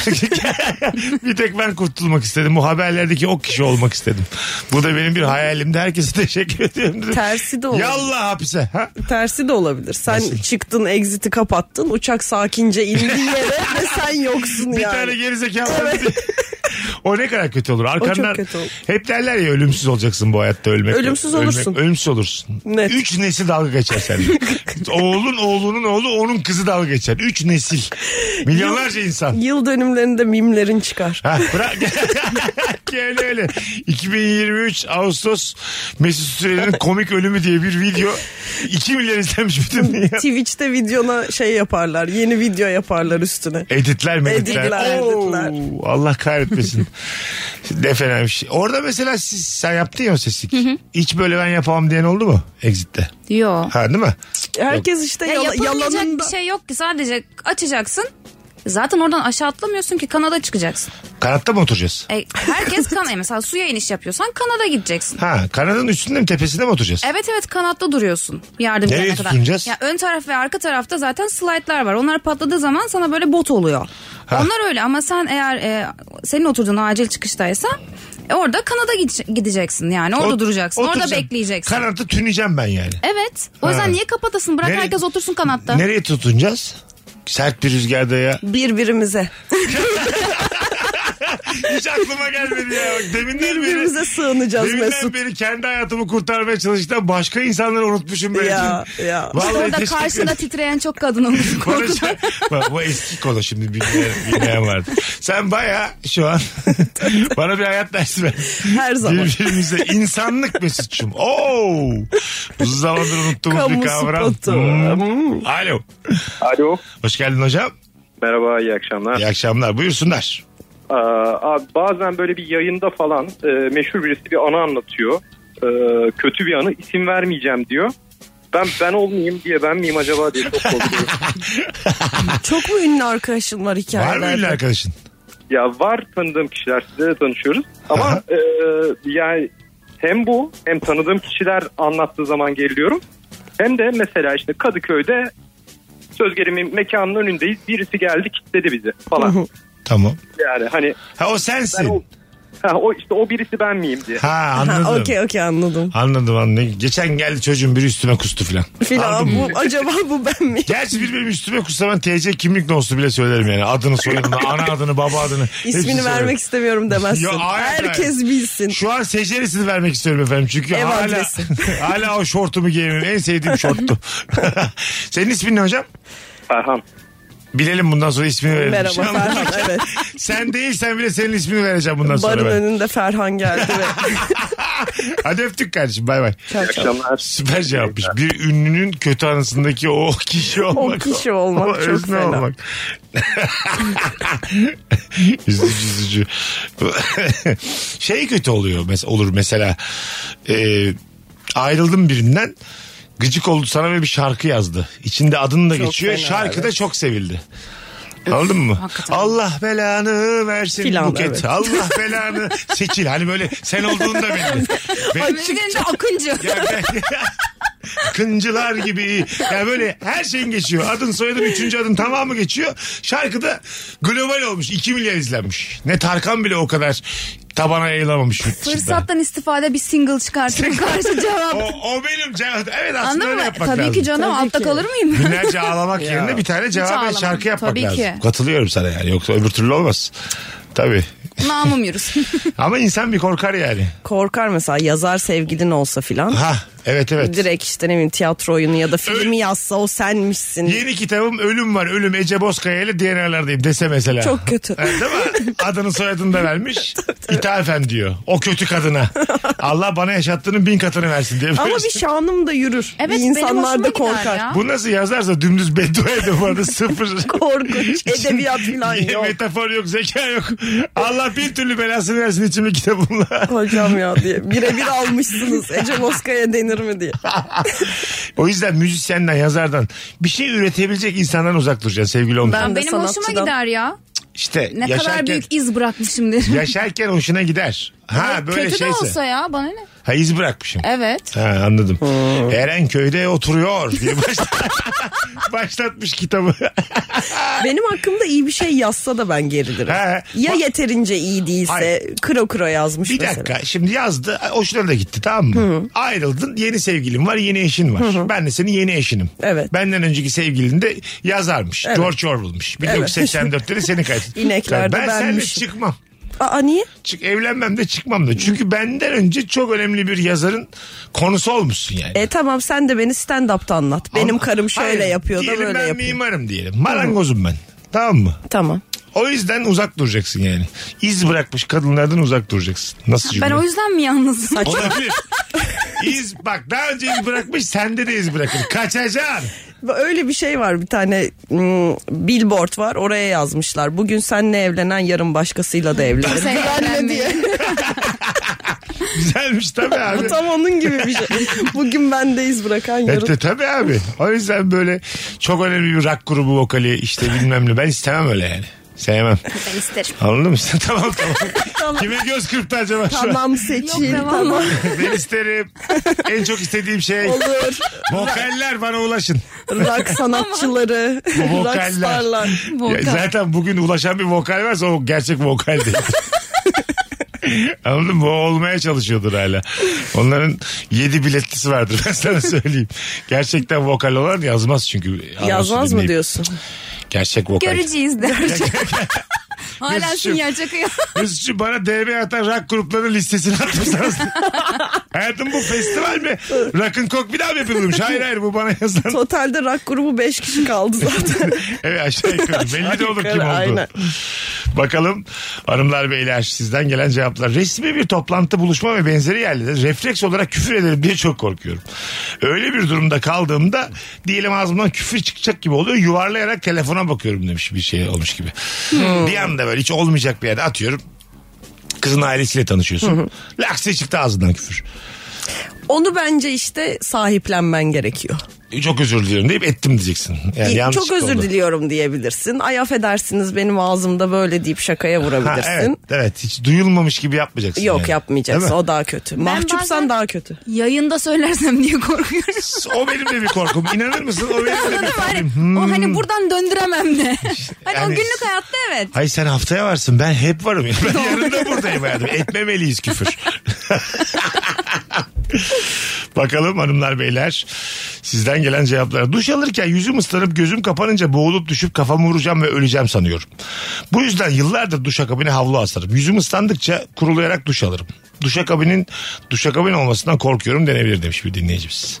[SPEAKER 1] bir tek ben kurtulmak istedim. Bu haberlerdeki o kişi olmak istedim. Bu da benim bir hayalimdi. Herkese teşekkür ediyorum. dedim.
[SPEAKER 2] Tersi de olur.
[SPEAKER 1] Yallah hapise. Ha?
[SPEAKER 2] Tersi de olabilir. Sen çıktın exit'i kapattın uçak sakince indi yere ve sen yoksun
[SPEAKER 1] Bir
[SPEAKER 2] yani.
[SPEAKER 1] tane gerizekalı. o ne kadar kötü olur. Arkandan
[SPEAKER 2] kötü olur.
[SPEAKER 1] hep derler ya ölümsüz olacaksın bu hayatta ölmek.
[SPEAKER 2] Ölümsüz
[SPEAKER 1] Ölmek-
[SPEAKER 2] olursun.
[SPEAKER 1] ölümsüz olursun.
[SPEAKER 2] Net.
[SPEAKER 1] Üç nesil dalga geçer seninle. Oğlun oğlunun oğlu onun kızı dalga geçer. Üç nesil. Milyonlarca insan.
[SPEAKER 2] Yıl dönümlerinde mimlerin çıkar.
[SPEAKER 1] Ha, bırak. öyle öyle. 2023 Ağustos Mesut Süren'in komik ölümü diye bir video 2 milyon izlenmiş bütün dünya.
[SPEAKER 2] Twitch'te videona şey yaparlar. Yeni video yaparlar
[SPEAKER 1] E,
[SPEAKER 2] üstüne.
[SPEAKER 1] Editler meditler.
[SPEAKER 2] Editler,
[SPEAKER 1] Oo,
[SPEAKER 2] editler.
[SPEAKER 1] Allah kahretmesin. ne fena bir şey. Orada mesela siz, sen yaptın ya o seslik. Hiç böyle ben yapamam diyen oldu mu? Exit'te.
[SPEAKER 3] Yok.
[SPEAKER 1] Ha değil mi?
[SPEAKER 2] Herkes işte
[SPEAKER 3] Ya şey-
[SPEAKER 2] yala-
[SPEAKER 3] yapılmayacak
[SPEAKER 2] yalanında.
[SPEAKER 3] bir şey yok ki sadece açacaksın Zaten oradan aşağı atlamıyorsun ki Kanada çıkacaksın.
[SPEAKER 1] Kanatta mı oturacağız?
[SPEAKER 3] E, herkes Kanada. Mesela suya iniş yapıyorsan Kanada gideceksin.
[SPEAKER 1] Ha kanadın üstünde mi tepesinde mi oturacağız?
[SPEAKER 3] Evet evet kanatta duruyorsun yardım
[SPEAKER 1] Nereye
[SPEAKER 3] gelene kadar.
[SPEAKER 1] tutunacağız?
[SPEAKER 3] Ya ön taraf ve arka tarafta zaten slaytlar var. Onlar patladığı zaman sana böyle bot oluyor.
[SPEAKER 1] Ha.
[SPEAKER 3] Onlar öyle ama sen eğer e, senin oturduğun acil çıkıştaysa e, orada Kanada gide- gideceksin yani. Orada
[SPEAKER 1] Ot-
[SPEAKER 3] duracaksın. Orada
[SPEAKER 1] oturacağım.
[SPEAKER 3] bekleyeceksin.
[SPEAKER 1] Kanatta tüneceğim ben yani.
[SPEAKER 3] evet. O yüzden
[SPEAKER 1] Ha.
[SPEAKER 3] niye kapatasın? Bırak
[SPEAKER 1] Nereye-
[SPEAKER 3] herkes otursun kanatta.
[SPEAKER 1] Nereye tutunacağız? Sert bir rüzgarda ya.
[SPEAKER 2] Birbirimize.
[SPEAKER 1] Hiç aklıma gelmedi ya. Bak Deminden
[SPEAKER 2] Birbirimize
[SPEAKER 1] beri,
[SPEAKER 2] sığınacağız
[SPEAKER 1] deminden
[SPEAKER 2] Mesut.
[SPEAKER 1] beri kendi hayatımı kurtarmaya çalıştım. Başka insanları unutmuşum ben.
[SPEAKER 2] Ya, ya.
[SPEAKER 3] İşte orada karşında titreyen çok kadın olur korkudan.
[SPEAKER 1] bu, bu eski konu şimdi bilmeyen, bilmeyen vardı. Sen baya şu an bana bir hayat dersi ver.
[SPEAKER 2] Her zaman.
[SPEAKER 1] Birbirimize insanlık Mesut'cum. Oo. Uzun zamandır unuttuğumuz
[SPEAKER 2] Kamu
[SPEAKER 1] bir kavram.
[SPEAKER 2] spotu.
[SPEAKER 1] Hmm. Alo.
[SPEAKER 6] Alo.
[SPEAKER 1] Hoş geldin hocam.
[SPEAKER 6] Merhaba iyi akşamlar.
[SPEAKER 1] İyi akşamlar. Buyursunlar.
[SPEAKER 6] Ee, abi bazen böyle bir yayında falan e, meşhur birisi bir anı anlatıyor. Ee, kötü bir anı isim vermeyeceğim diyor. Ben ben olmayayım diye ben miyim acaba diye çok korkuyorum.
[SPEAKER 2] Çok mu ünlü arkadaşın var
[SPEAKER 1] Var
[SPEAKER 2] hikayelerde?
[SPEAKER 1] mı ünlü arkadaşın?
[SPEAKER 6] ya var tanıdığım kişiler sizle de tanışıyoruz. Ama e, yani hem bu hem tanıdığım kişiler anlattığı zaman geriliyorum. Hem de mesela işte Kadıköy'de söz gelimi mekanın önündeyiz. Birisi geldi kilitledi bizi falan.
[SPEAKER 1] Tamam.
[SPEAKER 6] yani hani
[SPEAKER 1] Ha o
[SPEAKER 6] ben o,
[SPEAKER 1] sensin.
[SPEAKER 6] ha, o işte o birisi ben miyim diye.
[SPEAKER 1] Ha
[SPEAKER 2] Ha,
[SPEAKER 1] anladım.
[SPEAKER 2] Okey okey anladım.
[SPEAKER 1] Anladım anladım. Geçen geldi çocuğun biri üstüme kustu filan.
[SPEAKER 2] Filan
[SPEAKER 1] Anladın mı?
[SPEAKER 2] bu acaba bu ben mi?
[SPEAKER 1] Gerçi bir benim üstüme kusta ben TC kimlik olsun bile söylerim yani. Adını soyadını, ana adını, baba adını. hepsini
[SPEAKER 2] İsmini
[SPEAKER 1] söylerim.
[SPEAKER 2] vermek istemiyorum demezsin.
[SPEAKER 1] Yo, hayır, hayır.
[SPEAKER 2] Herkes bilsin.
[SPEAKER 1] Şu an secerisini vermek istiyorum efendim. Çünkü
[SPEAKER 2] Ev
[SPEAKER 1] hala,
[SPEAKER 2] adresi.
[SPEAKER 1] hala o şortumu giyemiyorum. En sevdiğim şorttu. Senin ismin ne hocam?
[SPEAKER 6] Ferhan.
[SPEAKER 1] Bilelim bundan sonra ismini verelim.
[SPEAKER 2] Merhaba
[SPEAKER 1] Şu an-
[SPEAKER 2] Ferhan evet.
[SPEAKER 1] Sen değilsen bile senin ismini vereceğim bundan
[SPEAKER 2] Barın
[SPEAKER 1] sonra ben.
[SPEAKER 2] önünde Ferhan geldi ve
[SPEAKER 1] Hadi öptük kardeşim bay bay.
[SPEAKER 6] İyi akşamlar.
[SPEAKER 1] Süper cevapmış. Bir ünlünün kötü anısındaki o kişi olmak.
[SPEAKER 2] kişi olmak çok
[SPEAKER 1] özne
[SPEAKER 2] fena.
[SPEAKER 1] üzücü üzücü. şey kötü oluyor mes- olur mesela. Ee, ayrıldım birinden. Gıcık oldu sana ve bir şarkı yazdı. İçinde adın da
[SPEAKER 2] Çok
[SPEAKER 1] geçiyor.
[SPEAKER 2] fena,
[SPEAKER 1] Şarkı da
[SPEAKER 2] evet.
[SPEAKER 1] çok sevildi. Anladın mı?
[SPEAKER 3] hakikaten.
[SPEAKER 1] Allah belanı versin
[SPEAKER 2] Filan,
[SPEAKER 1] Buket.
[SPEAKER 2] evet.
[SPEAKER 1] Allah belanı seçil. Hani böyle sen olduğunda belli. Ve-
[SPEAKER 3] Önünde Akıncı.
[SPEAKER 1] ya ben- Kıncılar gibi. Ya böyle her şeyin geçiyor. Adın soyadın üçüncü adın tamamı geçiyor. Şarkıda global olmuş. 2 milyar izlenmiş. Ne Tarkan bile o kadar tabana yayılamamış. yurt dışında.
[SPEAKER 3] Fırsattan istifade bir single çıkartıp karşı cevap.
[SPEAKER 1] O, o benim cevap. Evet aslında
[SPEAKER 3] Anladın
[SPEAKER 1] öyle
[SPEAKER 3] mı?
[SPEAKER 1] yapmak
[SPEAKER 3] Tabii
[SPEAKER 1] lazım.
[SPEAKER 3] ki canım altta kalır mıyım?
[SPEAKER 1] Günlerce ağlamak yerine bir tane cevap ve
[SPEAKER 3] ağlamam.
[SPEAKER 1] şarkı yapmak
[SPEAKER 3] Tabii
[SPEAKER 1] lazım.
[SPEAKER 3] ki.
[SPEAKER 1] Katılıyorum sana yani. Yoksa öbür türlü olmaz. Tabii.
[SPEAKER 3] Namım yürüsün.
[SPEAKER 1] Ama insan bir korkar yani.
[SPEAKER 2] korkar mesela yazar sevgilin olsa filan.
[SPEAKER 1] Ha evet evet.
[SPEAKER 2] Direkt işte ne bileyim tiyatro oyunu ya da
[SPEAKER 1] Öyle-
[SPEAKER 2] filmi yazsa o senmişsin.
[SPEAKER 1] Yeni kitabım Ölüm var. Ölüm Ece Bozkaya ile DNR'lardayım dese mesela.
[SPEAKER 2] Çok kötü.
[SPEAKER 1] Evet, değil mi? Adını soyadını da vermiş. İthafen diyor. O kötü kadına. Allah bana yaşattığının bin katını versin diye.
[SPEAKER 2] Ama
[SPEAKER 1] böyle- şey.
[SPEAKER 2] bir şanım da yürür.
[SPEAKER 3] Evet
[SPEAKER 2] bir
[SPEAKER 3] benim
[SPEAKER 2] insanlar
[SPEAKER 3] hoşuma
[SPEAKER 2] da
[SPEAKER 3] gider
[SPEAKER 2] korkar.
[SPEAKER 3] ya.
[SPEAKER 1] Bu nasıl yazarsa dümdüz beddua ediyor bu arada sıfır.
[SPEAKER 2] Korkunç edebiyat filan yok.
[SPEAKER 1] Metafor yok, zeka yok. Allah bir türlü belasını versin içimde kitabımla.
[SPEAKER 2] Hocam ya diye. Birebir almışsınız. Ece Moskaya denir mi diye.
[SPEAKER 1] o yüzden müzisyenden, yazardan bir şey üretebilecek insandan uzak duracaksın sevgili olmuş.
[SPEAKER 2] Ben de
[SPEAKER 3] Benim hoşuma
[SPEAKER 2] sanatçıdan-
[SPEAKER 3] gider ya.
[SPEAKER 1] İşte
[SPEAKER 3] Ne
[SPEAKER 1] yaşarken,
[SPEAKER 3] kadar büyük iz bırakmışım derim.
[SPEAKER 1] yaşarken hoşuna gider. Ha böyle
[SPEAKER 3] Kötü
[SPEAKER 1] şeyse.
[SPEAKER 3] de olsa ya bana ne?
[SPEAKER 1] Ha iz bırakmışım.
[SPEAKER 3] Evet.
[SPEAKER 1] Ha, anladım.
[SPEAKER 3] Hmm.
[SPEAKER 1] Erenköy'de oturuyor diye başla- başlatmış kitabı.
[SPEAKER 2] Benim hakkımda iyi bir şey yazsa da ben gerilirim.
[SPEAKER 1] He.
[SPEAKER 2] Ya yeterince iyi değilse
[SPEAKER 1] Hayır.
[SPEAKER 2] kro kro yazmış
[SPEAKER 1] bir
[SPEAKER 2] mesela.
[SPEAKER 1] dakika şimdi yazdı hoşuna da gitti tamam mı? Ayrıldın yeni sevgilin var yeni eşin var. Ben de senin yeni eşinim.
[SPEAKER 2] Evet.
[SPEAKER 1] Benden önceki sevgilin de yazarmış. George Orwell'mış. 1984'te de seni kaydet.
[SPEAKER 2] İneklerde
[SPEAKER 1] ben seninle
[SPEAKER 2] benmişim.
[SPEAKER 1] çıkmam.
[SPEAKER 2] Aa niye?
[SPEAKER 1] Çık, evlenmem de çıkmam da. Çünkü benden önce çok önemli bir yazarın konusu olmuşsun yani.
[SPEAKER 2] E tamam sen de beni stand-up'ta anlat. Benim
[SPEAKER 1] Ama-
[SPEAKER 2] karım şöyle
[SPEAKER 1] Hayır,
[SPEAKER 2] yapıyor da
[SPEAKER 1] diyelim
[SPEAKER 2] böyle
[SPEAKER 1] ben
[SPEAKER 2] yapıyor.
[SPEAKER 1] mimarım diyelim. Marangozum ben. Tamam mı?
[SPEAKER 2] Tamam.
[SPEAKER 1] O yüzden uzak duracaksın yani. İz bırakmış kadınlardan uzak duracaksın. Nasıl cümle?
[SPEAKER 3] Ben o yüzden mi yalnızım?
[SPEAKER 1] Olabilir. iz bak daha önce iz bırakmış sende de iz bırakır. Kaçacaksın.
[SPEAKER 2] Öyle bir şey var bir tane mm, billboard var oraya yazmışlar. Bugün senle evlenen yarın başkasıyla da evlenir.
[SPEAKER 3] Sen
[SPEAKER 2] Güvenle
[SPEAKER 3] evlenmeyin.
[SPEAKER 2] diye.
[SPEAKER 1] Güzelmiş tabii abi.
[SPEAKER 2] Bu tam onun gibi bir şey. Bugün bendeyiz bırakan
[SPEAKER 1] Evet
[SPEAKER 2] yarın.
[SPEAKER 1] de E, tabii abi. O yüzden böyle çok önemli bir rock grubu vokali işte bilmem ne. Ben istemem öyle yani. Sevmem.
[SPEAKER 3] Ben isterim.
[SPEAKER 1] Anladın mı? tamam tamam. Kime göz kırptı acaba şu an?
[SPEAKER 2] Tamam seçil.
[SPEAKER 3] Tamam.
[SPEAKER 1] Ben isterim. en çok istediğim şey
[SPEAKER 2] Olur.
[SPEAKER 1] vokaller bana ulaşın.
[SPEAKER 2] Rock sanatçıları,
[SPEAKER 1] vokaller.
[SPEAKER 2] rockstarlar.
[SPEAKER 1] Ya zaten bugün ulaşan bir vokal varsa o gerçek vokal değil. Anladın mı? O olmaya çalışıyordur hala. Onların yedi biletlisi vardır ben sana söyleyeyim. Gerçekten vokal olan yazmaz çünkü.
[SPEAKER 2] Yazmaz
[SPEAKER 1] anonsu
[SPEAKER 2] mı
[SPEAKER 1] dinleyip.
[SPEAKER 2] diyorsun?
[SPEAKER 1] Gerçek vokal.
[SPEAKER 3] Göreceğiz de. Hala
[SPEAKER 1] Mesut'cum.
[SPEAKER 3] sinyal çakıyor.
[SPEAKER 1] Mesut'cum bana DM atan rock gruplarının listesini atmışsınız. Hayatım bu festival mi? Rock'ın kok bir daha mı yapılmış? Hayır hayır bu bana yazan.
[SPEAKER 2] Totalde rock grubu 5 kişi kaldı zaten.
[SPEAKER 1] Evet aşağı yukarı. Belli de olur kim
[SPEAKER 2] Yukarı,
[SPEAKER 1] oldu.
[SPEAKER 2] aynen.
[SPEAKER 1] Bakalım hanımlar beyler sizden gelen cevaplar. Resmi bir toplantı buluşma ve benzeri yerlerde refleks olarak küfür ederim diye çok korkuyorum. Öyle bir durumda kaldığımda diyelim ağzımdan küfür çıkacak gibi oluyor. Yuvarlayarak telefona bakıyorum demiş bir şey olmuş gibi.
[SPEAKER 2] Hmm.
[SPEAKER 1] Bir anda böyle hiç olmayacak bir yerde atıyorum. Kızın ailesiyle tanışıyorsun. Laks diye çıktı ağzından küfür.
[SPEAKER 2] Onu bence işte sahiplenmen gerekiyor.
[SPEAKER 1] Çok özür diliyorum deyip ettim diyeceksin. Yani yanlışlık
[SPEAKER 2] Çok özür
[SPEAKER 1] oldu.
[SPEAKER 2] diliyorum diyebilirsin. Ay affedersiniz benim ağzımda böyle deyip şakaya
[SPEAKER 1] Ha,
[SPEAKER 2] vurabilirsin.
[SPEAKER 1] evet, evet hiç duyulmamış gibi yapmayacaksın.
[SPEAKER 2] Yok
[SPEAKER 1] yani. Değil
[SPEAKER 2] yapmayacaksın
[SPEAKER 1] mi?
[SPEAKER 2] o daha kötü. Mahcupsan
[SPEAKER 3] bazen-
[SPEAKER 2] daha kötü.
[SPEAKER 3] Yayında söylersem diye korkuyorum.
[SPEAKER 1] O benim de bir korkum. İnanır mısın? O benim de bir
[SPEAKER 3] Anladın mı? Hani,
[SPEAKER 1] korkum. Hmm.
[SPEAKER 3] o hani buradan döndüremem de. Hani o
[SPEAKER 1] Yani-
[SPEAKER 3] günlük hayatta evet.
[SPEAKER 1] Ay sen haftaya varsın. Ben hep varım. ya. Ben yarın da buradayım hayatım. Etmemeliyiz küfür. Bakalım hanımlar beyler sizden gelen cevaplara. Duş alırken yüzüm ıslanıp gözüm kapanınca boğulup düşüp kafamı vuracağım ve öleceğim sanıyorum. Bu yüzden yıllardır duşakabine havlu asarım. Yüzüm ıslandıkça kurulayarak duş alırım. Duşakabinin duşakabin olmasından korkuyorum denebilir demiş bir dinleyicimiz.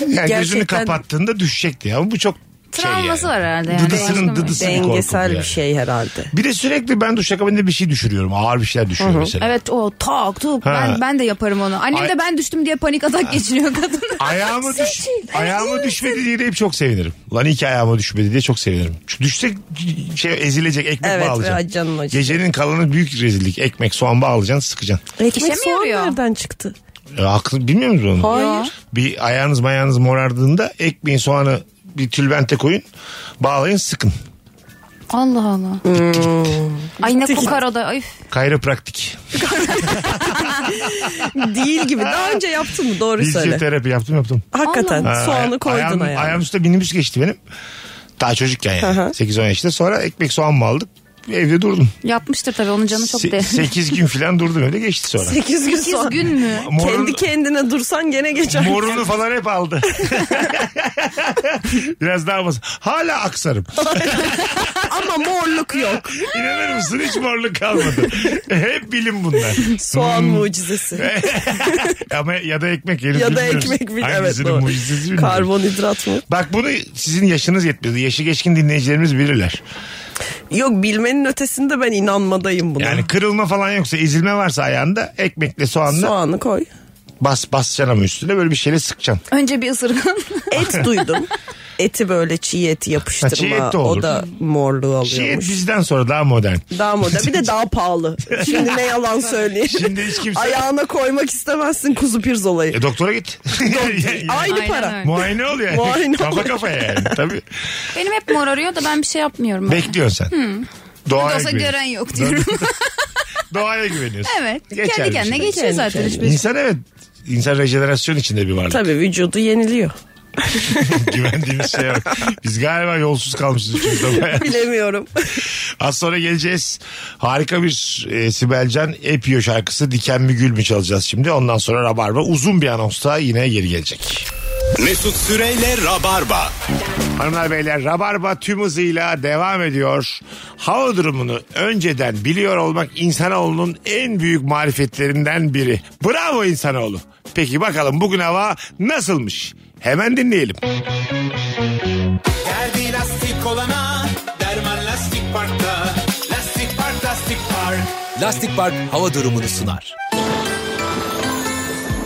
[SPEAKER 1] Yani gözünü
[SPEAKER 2] Gerçekten-
[SPEAKER 1] kapattığında düşecek diye ama bu çok
[SPEAKER 3] Travması
[SPEAKER 1] şey yani.
[SPEAKER 3] var herhalde yani. şey.
[SPEAKER 1] Dıdısının dıdısı bir korku bu
[SPEAKER 2] Dengesel bir
[SPEAKER 1] yani.
[SPEAKER 2] şey herhalde.
[SPEAKER 1] Bir de sürekli ben duş akabinde bir şey düşürüyorum. Ağır bir şeyler düşüyor mesela.
[SPEAKER 3] Evet o tak tuk
[SPEAKER 1] Ha.
[SPEAKER 3] ben, ben de yaparım onu. Annem
[SPEAKER 1] Ay-
[SPEAKER 3] de ben düştüm diye panik atak geçiriyor kadın.
[SPEAKER 1] Ayağıma,
[SPEAKER 2] şey
[SPEAKER 1] düş, ayağıma düşmedi diye de hep çok sevinirim. Lan iyi ki ayağıma düşmedi diye çok sevinirim. Çünkü düşsek şey ezilecek ekmek
[SPEAKER 2] Evet, ve
[SPEAKER 1] bağlayacaksın.
[SPEAKER 2] canın acıyacak.
[SPEAKER 1] Gecenin kalanı büyük rezillik. Ekmek soğan bağlayacaksın sıkacaksın.
[SPEAKER 3] İşe mi
[SPEAKER 2] Ekmek soğan
[SPEAKER 3] yarıyor?
[SPEAKER 2] nereden çıktı?
[SPEAKER 1] E, haklı bilmiyor musunuz onu?
[SPEAKER 2] Hayır.
[SPEAKER 1] Bir ayağınız mayağınız morardığında ekmeğin soğanı bir tülbente koyun bağlayın sıkın.
[SPEAKER 3] Allah Allah.
[SPEAKER 1] Hmm.
[SPEAKER 3] Ay ne kokar o da. Ay.
[SPEAKER 1] Kayropraktik.
[SPEAKER 2] Değil gibi. Daha önce yaptın mı? Doğru söyle.
[SPEAKER 1] Fizyoterapi yaptım yaptım.
[SPEAKER 2] Hakikaten
[SPEAKER 1] Ha,
[SPEAKER 2] soğanı koydun
[SPEAKER 1] ayağım,
[SPEAKER 2] ayağa.
[SPEAKER 1] Ayağım üstüne minibüs geçti benim. Daha çocukken yani.
[SPEAKER 2] Hı hı.
[SPEAKER 1] 8-10 yaşında. Sonra ekmek soğan mı aldık? Evde durdum.
[SPEAKER 3] Yapmıştır tabii onun canı çok değerli.
[SPEAKER 1] 8 gün falan durdum evde geçti sonra.
[SPEAKER 2] 8 gün sonra.
[SPEAKER 3] 8 gün mü?
[SPEAKER 1] Morun,
[SPEAKER 2] Kendi kendine dursan gene geçer.
[SPEAKER 1] morunu falan hep aldı. Biraz daha bas. Hala aksarım.
[SPEAKER 2] Ama morluk yok.
[SPEAKER 1] İnanır mısın hiç morluk kalmadı. hep bilim bunlar. Hmm.
[SPEAKER 2] Soğan mucizesi.
[SPEAKER 1] Ama ya da ekmek yeriz
[SPEAKER 2] ya da
[SPEAKER 1] bilmiyoruz.
[SPEAKER 2] ekmek bile. Evet
[SPEAKER 1] Hangisinin
[SPEAKER 2] doğru.
[SPEAKER 1] mucizesi bilmiyoruz.
[SPEAKER 2] Karbonhidrat mı?
[SPEAKER 1] Bak bunu sizin yaşınız yetmedi. Yaşı geçkin dinleyicilerimiz bilirler.
[SPEAKER 2] Yok bilmenin ötesinde ben inanmadayım buna.
[SPEAKER 1] Yani kırılma falan yoksa ezilme varsa ayağında ekmekle soğanla
[SPEAKER 2] Soğanı koy.
[SPEAKER 1] bas basacaksın ama üstüne böyle bir şeyle sıkacaksın.
[SPEAKER 3] Önce bir ısırgan.
[SPEAKER 2] Et duydum. Eti böyle çiğ eti yapıştırma.
[SPEAKER 1] Ha, çiğ et de olur.
[SPEAKER 2] o da morluğu
[SPEAKER 1] Şey et
[SPEAKER 2] alıyormuş.
[SPEAKER 1] bizden sonra daha modern.
[SPEAKER 2] Daha moda bir de daha pahalı. Şimdi ne yalan söyleyeyim.
[SPEAKER 1] Şimdi hiç kimse-
[SPEAKER 2] Ayağına koymak istemezsin kuzu pirzolayı.
[SPEAKER 1] E, doktora git. E,
[SPEAKER 2] Aynı
[SPEAKER 3] Aynen
[SPEAKER 2] para.
[SPEAKER 3] öyle.
[SPEAKER 1] Muayene ol yani.
[SPEAKER 2] Muayene
[SPEAKER 1] Kafa
[SPEAKER 2] ol.
[SPEAKER 1] kafa yani. Tabii.
[SPEAKER 3] Benim hep mor arıyor da ben bir şey yapmıyorum. ama.
[SPEAKER 1] Bekliyorsun sen.
[SPEAKER 2] Hmm.
[SPEAKER 1] Doğaya
[SPEAKER 3] Olsa
[SPEAKER 1] güveniyorsun.
[SPEAKER 3] gören yok diyorum.
[SPEAKER 1] Doğaya güveniyorsun.
[SPEAKER 3] evet.
[SPEAKER 1] Geçer
[SPEAKER 3] kendi
[SPEAKER 1] bir
[SPEAKER 3] kendine
[SPEAKER 1] şey.
[SPEAKER 3] geçiyor zaten. hiçbir şey.
[SPEAKER 1] İnsan evet. İnsan rejenerasyon içinde bir varlık.
[SPEAKER 2] Tabii vücudu yeniliyor.
[SPEAKER 1] Güvendiğimiz şey yok. Biz galiba yolsuz kalmışız üçümüzde bayağı.
[SPEAKER 2] Bilemiyorum.
[SPEAKER 1] Az sonra geleceğiz. Harika bir e, Sibel Can Epiyo şarkısı Diken mi Gül mü çalacağız şimdi. Ondan sonra Rabarba uzun bir anonsla yine geri gelecek.
[SPEAKER 11] Mesut Süreyle Rabarba.
[SPEAKER 1] Hanımlar beyler Rabarba tüm hızıyla devam ediyor. Hava durumunu önceden biliyor olmak insanoğlunun en büyük marifetlerinden biri. Bravo insanoğlu. Peki bakalım bugün hava nasılmış? Hemen dinleyelim.
[SPEAKER 11] Geldi lastik olana derman lastik parkta. Lastik park lastik park.
[SPEAKER 12] Lastik Park hava durumunu sunar.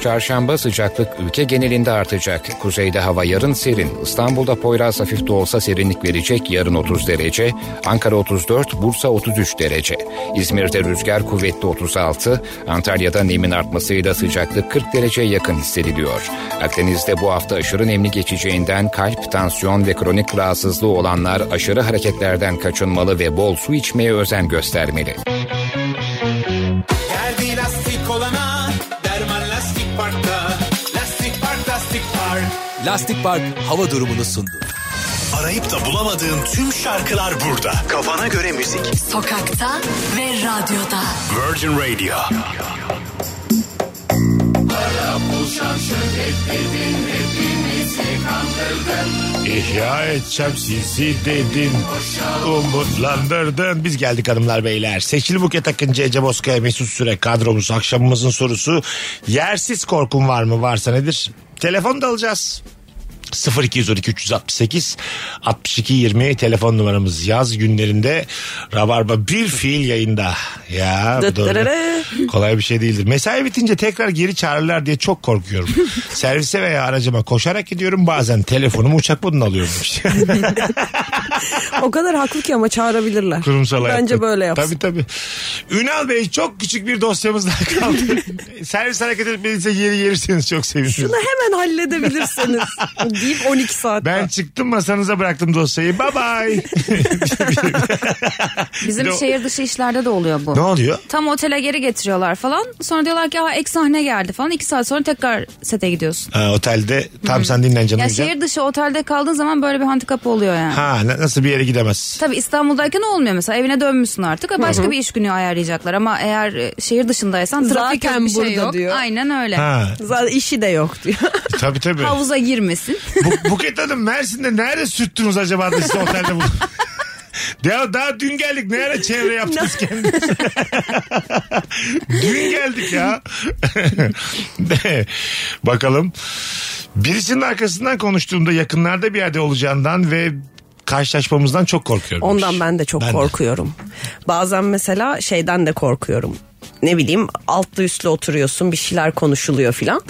[SPEAKER 12] Çarşamba sıcaklık ülke genelinde artacak. Kuzeyde hava yarın serin. İstanbul'da Poyraz hafif de olsa serinlik verecek. Yarın 30 derece. Ankara 34, Bursa 33 derece. İzmir'de rüzgar kuvvetli 36. Antalya'da nemin artmasıyla sıcaklık 40 dereceye yakın hissediliyor. Akdeniz'de bu hafta aşırı nemli geçeceğinden kalp, tansiyon ve kronik rahatsızlığı olanlar aşırı hareketlerden kaçınmalı ve bol su içmeye özen göstermeli.
[SPEAKER 11] Geldi lastik olana derman lastik parkta. Lastik park lastik park.
[SPEAKER 13] Lastik Park hava durumunu sundu.
[SPEAKER 14] Arayıp da bulamadığın tüm şarkılar burada. Kafana göre müzik.
[SPEAKER 15] Sokakta ve radyoda.
[SPEAKER 14] Virgin Radio.
[SPEAKER 11] Para bulşan şöhret dedin hepimizi kandırdın.
[SPEAKER 1] İhya edeceğim sizi dedin. Umutlandırdın. Biz geldik hanımlar beyler. Seçil Buket Akıncı, Ece Bozkaya, Mesut Süre kadromuz. Akşamımızın sorusu yersiz korkun var mı? Varsa nedir? Telefon da alacağız. 0212 368 62 20 telefon numaramız yaz günlerinde Rabarba bir fiil yayında. Ya bu
[SPEAKER 2] Dıt dırırı.
[SPEAKER 1] doğru. kolay bir şey değildir. Mesai bitince tekrar geri çağırırlar diye çok korkuyorum. Servise veya aracıma koşarak gidiyorum bazen telefonumu uçak moduna alıyorum.
[SPEAKER 2] o kadar haklı ki ama çağırabilirler.
[SPEAKER 1] Kurumsal hayatta.
[SPEAKER 2] Bence böyle yapsın.
[SPEAKER 1] Tabii tabii. Ünal Bey çok küçük bir dosyamız daha kaldı. Servis hareket etmediyse geri gelirseniz çok sevinirim.
[SPEAKER 2] Şunu hemen halledebilirsiniz. deyip 12 saat.
[SPEAKER 1] Ben çıktım masanıza bıraktım dosyayı. Bye bye.
[SPEAKER 3] Bizim
[SPEAKER 1] Bir de o-
[SPEAKER 3] şehir dışı işlerde de oluyor bu.
[SPEAKER 1] ne oluyor?
[SPEAKER 3] Tam otele geri getiriyorlar falan. Sonra diyorlar ki ha ek sahne geldi falan. İki saat sonra tekrar sete gidiyorsun.
[SPEAKER 1] Ha, Ee, otelde tam sen dinleneceksin.
[SPEAKER 3] Ya
[SPEAKER 1] uyuyacaksın.
[SPEAKER 3] şehir dışı otelde kaldığın zaman böyle bir handikap oluyor yani.
[SPEAKER 1] Ha na- nasıl bir yere gidemez?
[SPEAKER 3] Tabii İstanbul'dayken olmuyor mesela evine dönmüşsün artık Ha, başka bir iş günü ayarlayacaklar ama eğer e, şehir dışındaysan trafik yok,
[SPEAKER 2] Zaten
[SPEAKER 3] bir şey
[SPEAKER 2] burada
[SPEAKER 3] yok.
[SPEAKER 2] diyor.
[SPEAKER 3] Aynen öyle.
[SPEAKER 1] Ha
[SPEAKER 2] Zaten işi de yok diyor.
[SPEAKER 1] tabii tabii.
[SPEAKER 3] Havuza girmesin.
[SPEAKER 1] Bu, Buket Hanım Mersin'de nerede sürttünüz acaba da sizi otelde bu? Ya daha dün geldik. Ne ara çevre yaptınız kendiniz? dün geldik ya. De, Bakalım. Birisinin arkasından konuştuğumda yakınlarda bir yerde olacağından ve karşılaşmamızdan çok korkuyorum. demiş.
[SPEAKER 2] Ondan ben de çok
[SPEAKER 1] Ben de.
[SPEAKER 2] korkuyorum. Bazen mesela şeyden de korkuyorum. Ne bileyim altlı üstlü oturuyorsun bir şeyler konuşuluyor filan.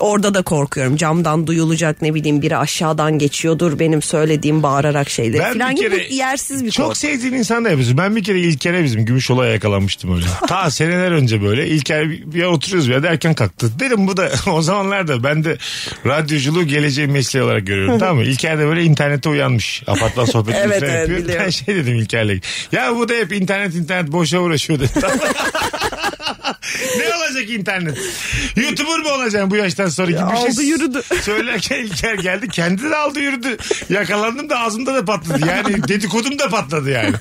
[SPEAKER 2] Orada da korkuyorum. Camdan duyulacak ne bileyim biri aşağıdan geçiyordur benim söylediğim bağırarak şeyleri
[SPEAKER 1] Ben
[SPEAKER 2] filan
[SPEAKER 1] bir
[SPEAKER 2] gibi
[SPEAKER 1] kere
[SPEAKER 2] bu yersiz bir
[SPEAKER 1] çok
[SPEAKER 2] korku.
[SPEAKER 1] sevdiğin insan da yapıyorsun. Ben bir kere İlker'e bizim Gümüşolaya yakalanmıştım öyle. Ta seneler önce böyle İlker bir bir yer oturuyoruz bir yerde erken kalktı. Dedim bu da o zamanlarda ben de radyoculuğu geleceğin mesleği olarak görüyorum tamam mı? İlker de böyle internete uyanmış. Apartman sohbeti
[SPEAKER 2] Evet,
[SPEAKER 1] falan
[SPEAKER 2] evet,
[SPEAKER 1] yapıyor. Ben
[SPEAKER 2] biliyorum.
[SPEAKER 1] şey dedim İlker'le. Ya bu da hep internet internet boşa uğraşıyor dedim. ne olacak internet? YouTuber mu olacaksın bu yaştan sonra? Gibi bir şey
[SPEAKER 2] aldı yürüdü.
[SPEAKER 1] Söylerken İlker geldi kendi de aldı yürüdü. Yakalandım da ağzımda da patladı. Yani dedikodum da patladı yani.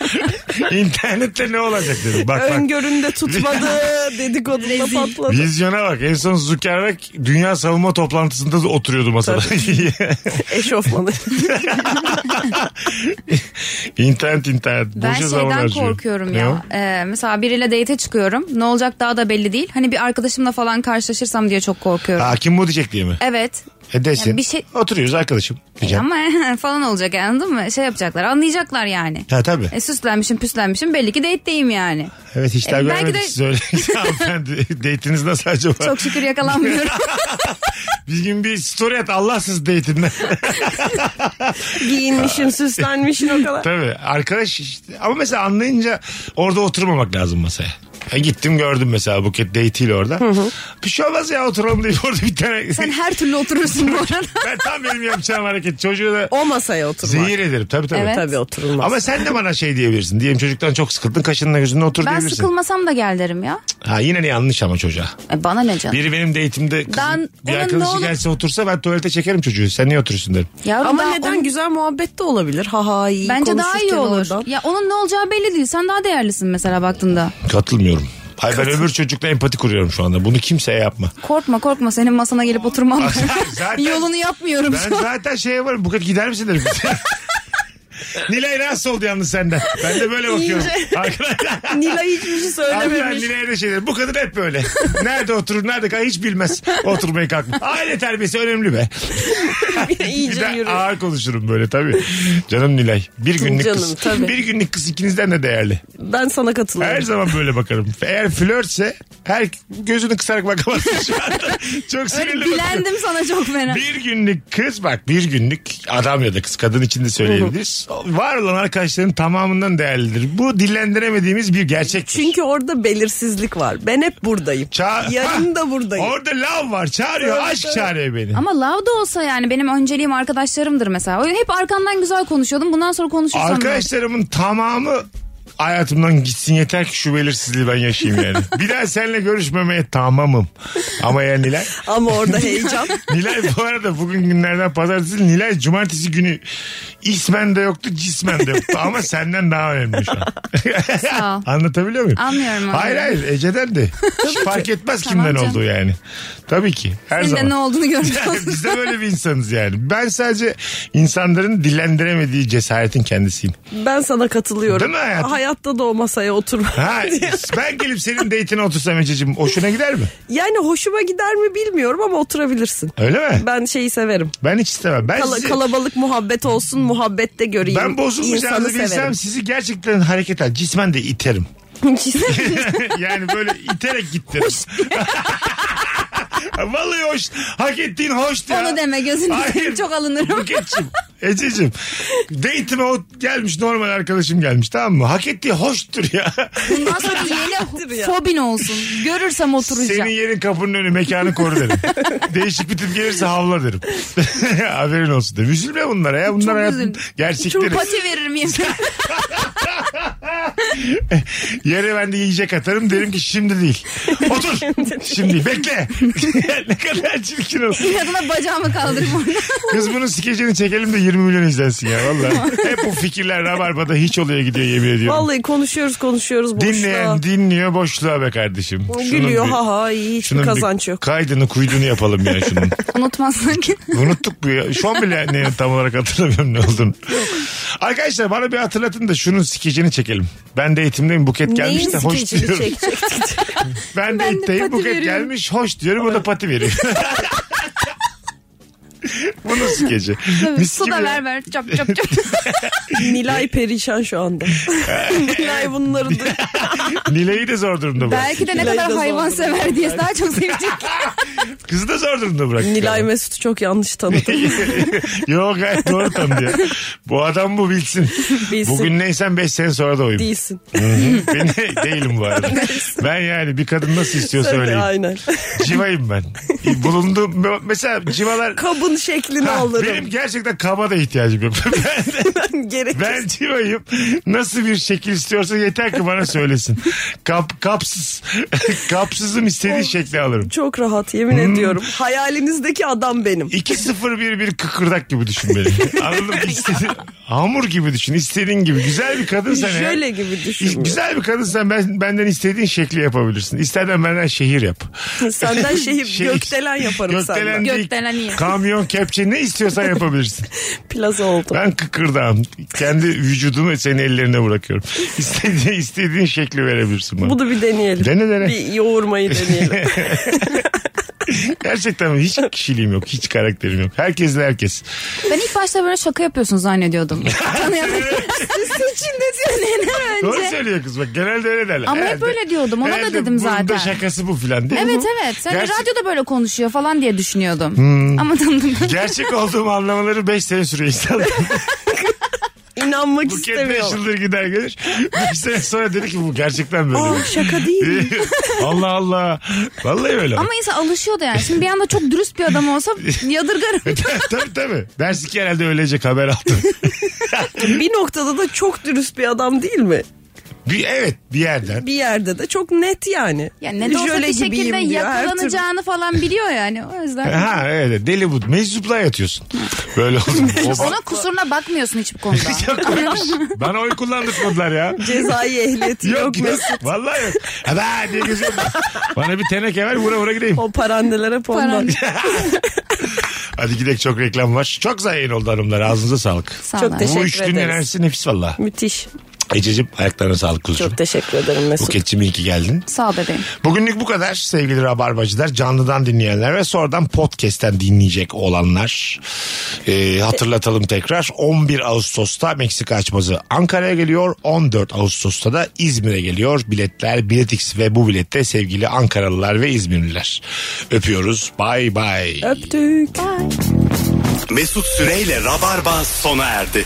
[SPEAKER 1] İnternette ne olacak dedim. Bak bak.
[SPEAKER 2] Öngöründe tutmadı dedikodunda patladı.
[SPEAKER 1] Vizyona bak. En son Zuckerberg dünya savunma toplantısında da oturuyordu masada.
[SPEAKER 2] Eşofmanı.
[SPEAKER 1] internet internet.
[SPEAKER 2] şey.
[SPEAKER 3] Ben
[SPEAKER 1] Boşa zaman
[SPEAKER 3] şeyden
[SPEAKER 1] harcıyor.
[SPEAKER 3] korkuyorum
[SPEAKER 1] Ne o?
[SPEAKER 3] ya. Ee, mesela biriyle date'e çıkıyorum. Ne olacak daha da belli değil. Hani bir arkadaşımla falan karşılaşırsam diye çok korkuyorum.
[SPEAKER 1] Ha, kim bu diyecek diye mi?
[SPEAKER 3] Evet.
[SPEAKER 1] E desin.
[SPEAKER 3] Ya bir şey- E,
[SPEAKER 1] Oturuyoruz arkadaşım. Diyeceğim.
[SPEAKER 3] Ama falan olacak yani, anladın mı? Şey yapacaklar anlayacaklar yani.
[SPEAKER 1] Ha tabii.
[SPEAKER 3] E, süslenmişim püslenmişim belli ki date'deyim yani.
[SPEAKER 1] Evet hiç daha
[SPEAKER 3] E, belki
[SPEAKER 1] görmedik
[SPEAKER 3] de-
[SPEAKER 1] siz öyle. Hanımefendi date'iniz nasıl acaba?
[SPEAKER 3] Çok şükür yakalanmıyorum.
[SPEAKER 1] Bir gün bir story at Allahsız date'inden.
[SPEAKER 2] Giyinmişin süslenmişin o kadar.
[SPEAKER 1] Tabii arkadaş işte. ama mesela anlayınca orada oturmamak lazım masaya. Ya gittim gördüm mesela Buket date'iyle orada. Bir şey olmaz ya oturalım deyip orada bir tane.
[SPEAKER 3] Sen her türlü oturursun bu arada.
[SPEAKER 1] ben tam benim yapacağım hareket çocuğu da
[SPEAKER 2] O masaya oturmak.
[SPEAKER 1] zehir ederim tabii tabii.
[SPEAKER 3] Evet.
[SPEAKER 2] Tabii oturulmaz.
[SPEAKER 1] Ama sen de bana şey diyebilirsin. Diyelim çocuktan çok sıkıldın kaşınla gözünle otur
[SPEAKER 3] Ben
[SPEAKER 1] diyebilirsin.
[SPEAKER 3] sıkılmasam da gel derim ya.
[SPEAKER 1] Ha yine ne yanlış ama çocuğa.
[SPEAKER 3] E, bana ne canım?
[SPEAKER 1] Biri benim date'imde kızım,
[SPEAKER 3] Ben-
[SPEAKER 1] bir
[SPEAKER 3] onun ne
[SPEAKER 1] arkadaşı
[SPEAKER 3] olur-
[SPEAKER 1] gelse otursa ben tuvalete çekerim çocuğu. Sen niye oturursun derim.
[SPEAKER 3] Yavrum
[SPEAKER 2] Ama
[SPEAKER 3] daha
[SPEAKER 2] neden
[SPEAKER 3] onun-
[SPEAKER 2] güzel muhabbet de olabilir. Ha ha iyi
[SPEAKER 3] Bence daha iyi
[SPEAKER 2] konuşurken
[SPEAKER 3] olur.
[SPEAKER 2] oradan.
[SPEAKER 3] Ya onun ne olacağı belli değil. Sen daha değerlisin mesela baktığında.
[SPEAKER 1] Katılmıyorum. Hayır ben öbür çocukla empati kuruyorum şu anda. Bunu kimseye yapma.
[SPEAKER 3] Korkma korkma senin masana gelip oturmam.
[SPEAKER 1] Zaten-
[SPEAKER 3] Yolunu yapmıyorum.
[SPEAKER 1] Ben zaten şeye varım. Buket gider misin derim. Nilay rahatsız oldu yalnız senden. Ben de böyle bakıyorum.
[SPEAKER 2] İyice.
[SPEAKER 1] Arkadaşlar.
[SPEAKER 2] Nilay hiçbir şey
[SPEAKER 1] Harbiden
[SPEAKER 2] söylememiş.
[SPEAKER 1] Nilay'a da şey dedim. Bu kadın hep böyle. Nerede oturur nerede kalır hiç bilmez. Oturmayı kalkma. Aile terbiyesi önemli be. Bir
[SPEAKER 2] İyice
[SPEAKER 1] de
[SPEAKER 2] yürü.
[SPEAKER 1] ağır konuşurum böyle tabii. Canım Nilay. Bir günlük kız.
[SPEAKER 2] Canım, tabii.
[SPEAKER 1] Bir günlük kız ikinizden de değerli.
[SPEAKER 2] Ben sana katılıyorum.
[SPEAKER 1] Her zaman böyle bakarım. Eğer flörtse her gözünü kısarak bakamazsın şu anda. Çok
[SPEAKER 3] Öyle
[SPEAKER 1] sinirli bakarım.
[SPEAKER 3] bilendim sana çok fena.
[SPEAKER 1] Bir günlük kız bak bir günlük adam ya da kız kadın için de söyleyebiliriz. Var olan arkadaşların tamamından değerlidir. Bu dillendiremediğimiz bir gerçek.
[SPEAKER 2] Çünkü orada belirsizlik var. Ben hep buradayım.
[SPEAKER 1] Ça-
[SPEAKER 2] Yarın da buradayım.
[SPEAKER 1] Orada lav var çağırıyor
[SPEAKER 2] Evet,
[SPEAKER 1] aşk
[SPEAKER 2] evet.
[SPEAKER 1] çağırıyor beni.
[SPEAKER 3] Ama love da olsa yani benim önceliğim arkadaşlarımdır mesela. O Hep arkamdan güzel konuşuyordum. Bundan sonra konuşursam da.
[SPEAKER 1] Arkadaşlarımın tamamı hayatımdan gitsin yeter ki şu belirsizliği ben yaşayayım yani. bir daha seninle görüşmemeye tamamım. Ama yani Nilay.
[SPEAKER 2] Ama orada heyecan.
[SPEAKER 1] Nilay bu arada bugün günlerden pazartesi Nilay cumartesi günü ismen de yoktu cismen de yoktu ama senden daha önemli şu an.
[SPEAKER 3] Sağ ol.
[SPEAKER 1] Anlatabiliyor muyum?
[SPEAKER 3] Anlıyorum, anlıyorum.
[SPEAKER 1] Hayır hayır Ece'den de. Hiç fark etmez
[SPEAKER 3] Tamam
[SPEAKER 1] kimden
[SPEAKER 3] canım.
[SPEAKER 1] olduğu yani. Tabii ki. Her
[SPEAKER 3] Senin de
[SPEAKER 1] zaman.
[SPEAKER 3] ne olduğunu
[SPEAKER 1] Yani
[SPEAKER 3] göreceğiz.
[SPEAKER 1] biz de böyle bir insanız yani. Ben sadece insanların dillendiremediği cesaretin kendisiyim.
[SPEAKER 2] Ben sana katılıyorum.
[SPEAKER 1] Değil mi hayatım?
[SPEAKER 2] Hayatta da o masaya oturma.
[SPEAKER 1] Ha, ben gelip senin date'ine otursam Ececiğim hoşuna gider mi?
[SPEAKER 2] Yani hoşuma gider mi bilmiyorum ama oturabilirsin.
[SPEAKER 1] Öyle mi?
[SPEAKER 2] Ben şeyi severim.
[SPEAKER 1] Ben hiç istemem. Ben,
[SPEAKER 2] Kala-
[SPEAKER 1] sizi-
[SPEAKER 2] kalabalık muhabbet olsun, muhabbette göreyim.
[SPEAKER 1] ben bozulmayacağınızı
[SPEAKER 2] İnsanı
[SPEAKER 1] bilsem
[SPEAKER 2] severim.
[SPEAKER 1] sizi gerçekten hareket al. Cismen de iterim. yani böyle iterek gittim. Vallahi hoş. Hak ettiğin hoş ya.
[SPEAKER 3] Onu deme gözünü
[SPEAKER 1] Hayır.
[SPEAKER 3] seveyim, çok alınırım.
[SPEAKER 1] Buketçim. Ececiğim. Date'ime o gelmiş normal arkadaşım gelmiş tamam mı? Hak ettiği hoştur ya.
[SPEAKER 3] Bundan sonra yeni fobin olsun. Görürsem oturacağım.
[SPEAKER 1] Senin yerin kapının önü mekanı koru derim. Değişik bir tip gelirse havla derim. Haberin olsun derim. Üzülme bunlara ya. Bunlar
[SPEAKER 3] Çok
[SPEAKER 1] hayatın
[SPEAKER 3] üzüldüm. Çok
[SPEAKER 1] gerçekleri.
[SPEAKER 3] pati veririm yemin.
[SPEAKER 1] Yere ben de yiyecek atarım derim ki şimdi değil. Otur. şimdi bekle. ne kadar çirkin olur.
[SPEAKER 3] İnadına bacağımı kaldırırım orada.
[SPEAKER 1] Kız bunun skecini çekelim de 20 milyon izlensin ya valla. Hep bu fikirler rabarbada hiç oluyor gidiyor yemin ediyorum.
[SPEAKER 2] Vallahi konuşuyoruz konuşuyoruz boşluğa.
[SPEAKER 1] Dinleyen dinliyor boşluğa be kardeşim.
[SPEAKER 2] Gülüyor ha ha iyi hiçbir
[SPEAKER 1] şunun bir
[SPEAKER 2] kazanç yok.
[SPEAKER 1] Kaydını kuydunu yapalım yani şunun.
[SPEAKER 3] Unutmazsın ki.
[SPEAKER 1] Unuttuk bu ya. Şu an bile ne, tam olarak hatırlamıyorum ne olduğunu. Arkadaşlar bana bir hatırlatın da şunun skecini çekelim. Ben de eğitimdeyim buket gelmiş de
[SPEAKER 2] Neyin
[SPEAKER 1] hoş
[SPEAKER 2] skecini
[SPEAKER 1] diyorum.
[SPEAKER 2] çekecektik?
[SPEAKER 3] Ben
[SPEAKER 1] Ben de
[SPEAKER 3] de
[SPEAKER 1] eğitimdeyim
[SPEAKER 3] pati
[SPEAKER 1] buket
[SPEAKER 3] veriyorum.
[SPEAKER 1] gelmiş hoş diyorum o da pati veriyor. Bunun skeci.
[SPEAKER 3] Tabii,
[SPEAKER 1] Mis
[SPEAKER 3] su
[SPEAKER 1] gibi
[SPEAKER 3] da
[SPEAKER 1] ya.
[SPEAKER 3] ver ver. Çap çap çap.
[SPEAKER 2] Nilay perişan şu anda. Nilay bunları duyuyor.
[SPEAKER 1] Nilay'ı da zor durumda bırak.
[SPEAKER 3] Belki de ne
[SPEAKER 2] Leyla'da
[SPEAKER 3] kadar
[SPEAKER 2] zor
[SPEAKER 3] hayvan
[SPEAKER 2] durumda.
[SPEAKER 3] sever diye daha çok sevecek.
[SPEAKER 1] Kızı da zor durumda bırak.
[SPEAKER 2] Nilay Mesut'u çok yanlış tanıdı.
[SPEAKER 1] Yok gayet doğru tanıdı ya. Bu adam bu bilsin.
[SPEAKER 2] Bilsin.
[SPEAKER 1] Bugün neysen 5 sene sonra da oyum.
[SPEAKER 2] Değilsin.
[SPEAKER 1] Hı. Beni değilim bu arada. ben yani bir kadın nasıl istiyorsa
[SPEAKER 2] Sen de
[SPEAKER 1] öyleyim.
[SPEAKER 2] aynen.
[SPEAKER 1] Civayım ben. Bulundum. Mesela civalar...
[SPEAKER 2] Kabın şeklini
[SPEAKER 1] Ha,
[SPEAKER 2] alırım.
[SPEAKER 1] benim gerçekten kaba da ihtiyacım yok. Ben,
[SPEAKER 2] Gerek.
[SPEAKER 1] ben civayım. Nasıl bir şekil istiyorsa yeter ki bana söylesin. Kap, kapsız. Kapsızım istediği şekli alırım.
[SPEAKER 2] Çok rahat yemin
[SPEAKER 1] Hmm.
[SPEAKER 2] ediyorum. Hayalinizdeki adam benim.
[SPEAKER 1] 2-0-1-1 kıkırdak gibi düşün beni. Anladın mı? İstedi- hamur gibi düşün. istediğin gibi. Güzel bir kadın sen eğer-
[SPEAKER 2] Şöyle gibi düşün.
[SPEAKER 1] Güzel bir kadınsan ben, benden istediğin şekli yapabilirsin. İstersen benden şehir yap.
[SPEAKER 2] Senden şehir, gökdelen yaparım
[SPEAKER 1] Şey, gökdelen
[SPEAKER 2] senden.
[SPEAKER 1] değil,
[SPEAKER 3] Gökdelen iyi.
[SPEAKER 1] Kamyon, kepçe ne istiyorsan yapabilirsin.
[SPEAKER 2] Plaza oldu.
[SPEAKER 1] Ben kıkırdağım. Kendi vücudumu senin ellerine bırakıyorum. İstediğin, istediğin şekli verebilirsin bana.
[SPEAKER 2] Bunu bir deneyelim.
[SPEAKER 1] Dene, dene.
[SPEAKER 2] Bir yoğurmayı deneyelim.
[SPEAKER 1] Gerçekten hiç kişiliğim yok. Hiç karakterim yok. Herkesle herkes.
[SPEAKER 3] Ben ilk başta böyle şaka yapıyorsunuz zannediyordum. Tanıyamadım. Seneden
[SPEAKER 1] Doğru
[SPEAKER 3] önce.
[SPEAKER 1] söylüyor kız bak genelde öyle derler.
[SPEAKER 3] Ama hep öyle diyordum, ona da
[SPEAKER 1] herhalde
[SPEAKER 3] dedim
[SPEAKER 1] bunun
[SPEAKER 3] zaten.
[SPEAKER 1] şakası bu filan değil mi?
[SPEAKER 3] Evet evet. Sen
[SPEAKER 1] Gerçi-
[SPEAKER 3] radyoda böyle konuşuyor falan diye düşünüyordum. Ama tanıdım.
[SPEAKER 1] Hmm. Gerçek olduğum anlamaları 5 sene sürüyor insanlar.
[SPEAKER 2] İnanmak
[SPEAKER 1] Bu kendi beş
[SPEAKER 2] istemiyorum.
[SPEAKER 1] yıldır gider gelir. 5 sene sonra dedi ki bu gerçekten
[SPEAKER 2] Aa,
[SPEAKER 1] böyle.
[SPEAKER 2] şaka değil mi?
[SPEAKER 1] Allah Allah. Vallahi öyle.
[SPEAKER 3] Ama insan alışıyor da yani. Şimdi bir anda çok dürüst bir adam olsa yadırgarım.
[SPEAKER 1] tabii tabii. Dersi ki herhalde ölecek haber aldım.
[SPEAKER 2] bir noktada da çok dürüst bir adam değil mi?
[SPEAKER 1] Bir, evet bir yerden.
[SPEAKER 2] Bir yerde de çok net yani.
[SPEAKER 3] Yani ne de olsa
[SPEAKER 2] Jöle
[SPEAKER 3] bir şekilde
[SPEAKER 2] gibiyim diyor, her türlü.
[SPEAKER 3] yakalanacağını falan biliyor yani. O yüzden.
[SPEAKER 1] Ha öyle deli bu. Meczupla yatıyorsun. Böyle oldu.
[SPEAKER 3] Ona kusuruna bakmıyorsun hiçbir konuda.
[SPEAKER 1] Yok öyle bir şey. Bana oy kullandırmadılar ya.
[SPEAKER 2] Cezai ehliyeti yok,
[SPEAKER 1] Yok,
[SPEAKER 2] Mesut.
[SPEAKER 1] Vallahi yok. Ha, ben diye geziyorum. Bana bir teneke ver vura vura gideyim.
[SPEAKER 2] O parandelere pondan.
[SPEAKER 3] Paran-
[SPEAKER 1] Hadi gidelim çok reklam var. Çok güzel yayın oldu hanımlar. Ağzınıza sağlık.
[SPEAKER 2] Sağ olun. Çok teşekkür
[SPEAKER 1] Bu üç gün
[SPEAKER 2] ederiz.
[SPEAKER 1] enerjisi nefis valla.
[SPEAKER 2] Müthiş.
[SPEAKER 1] Ececiğim ayaklarına sağlık kuzucuğum.
[SPEAKER 2] Çok teşekkür ederim Mesut.
[SPEAKER 1] Buketçim iyi ki geldin.
[SPEAKER 3] Sağ ol bebeğim.
[SPEAKER 1] Bugünlük bu kadar sevgili Rabarbacılar. Canlıdan dinleyenler ve sonradan podcast'ten dinleyecek olanlar. Ee, hatırlatalım tekrar. 11 Ağustos'ta Meksika açmazı Ankara'ya geliyor. 14 Ağustos'ta da İzmir'e geliyor. Biletler Biletix ve bu bilette sevgili Ankaralılar ve İzmirliler. Öpüyoruz. Bay bay.
[SPEAKER 2] Öptük.
[SPEAKER 14] Mesut Süreyle Rabarba sona erdi.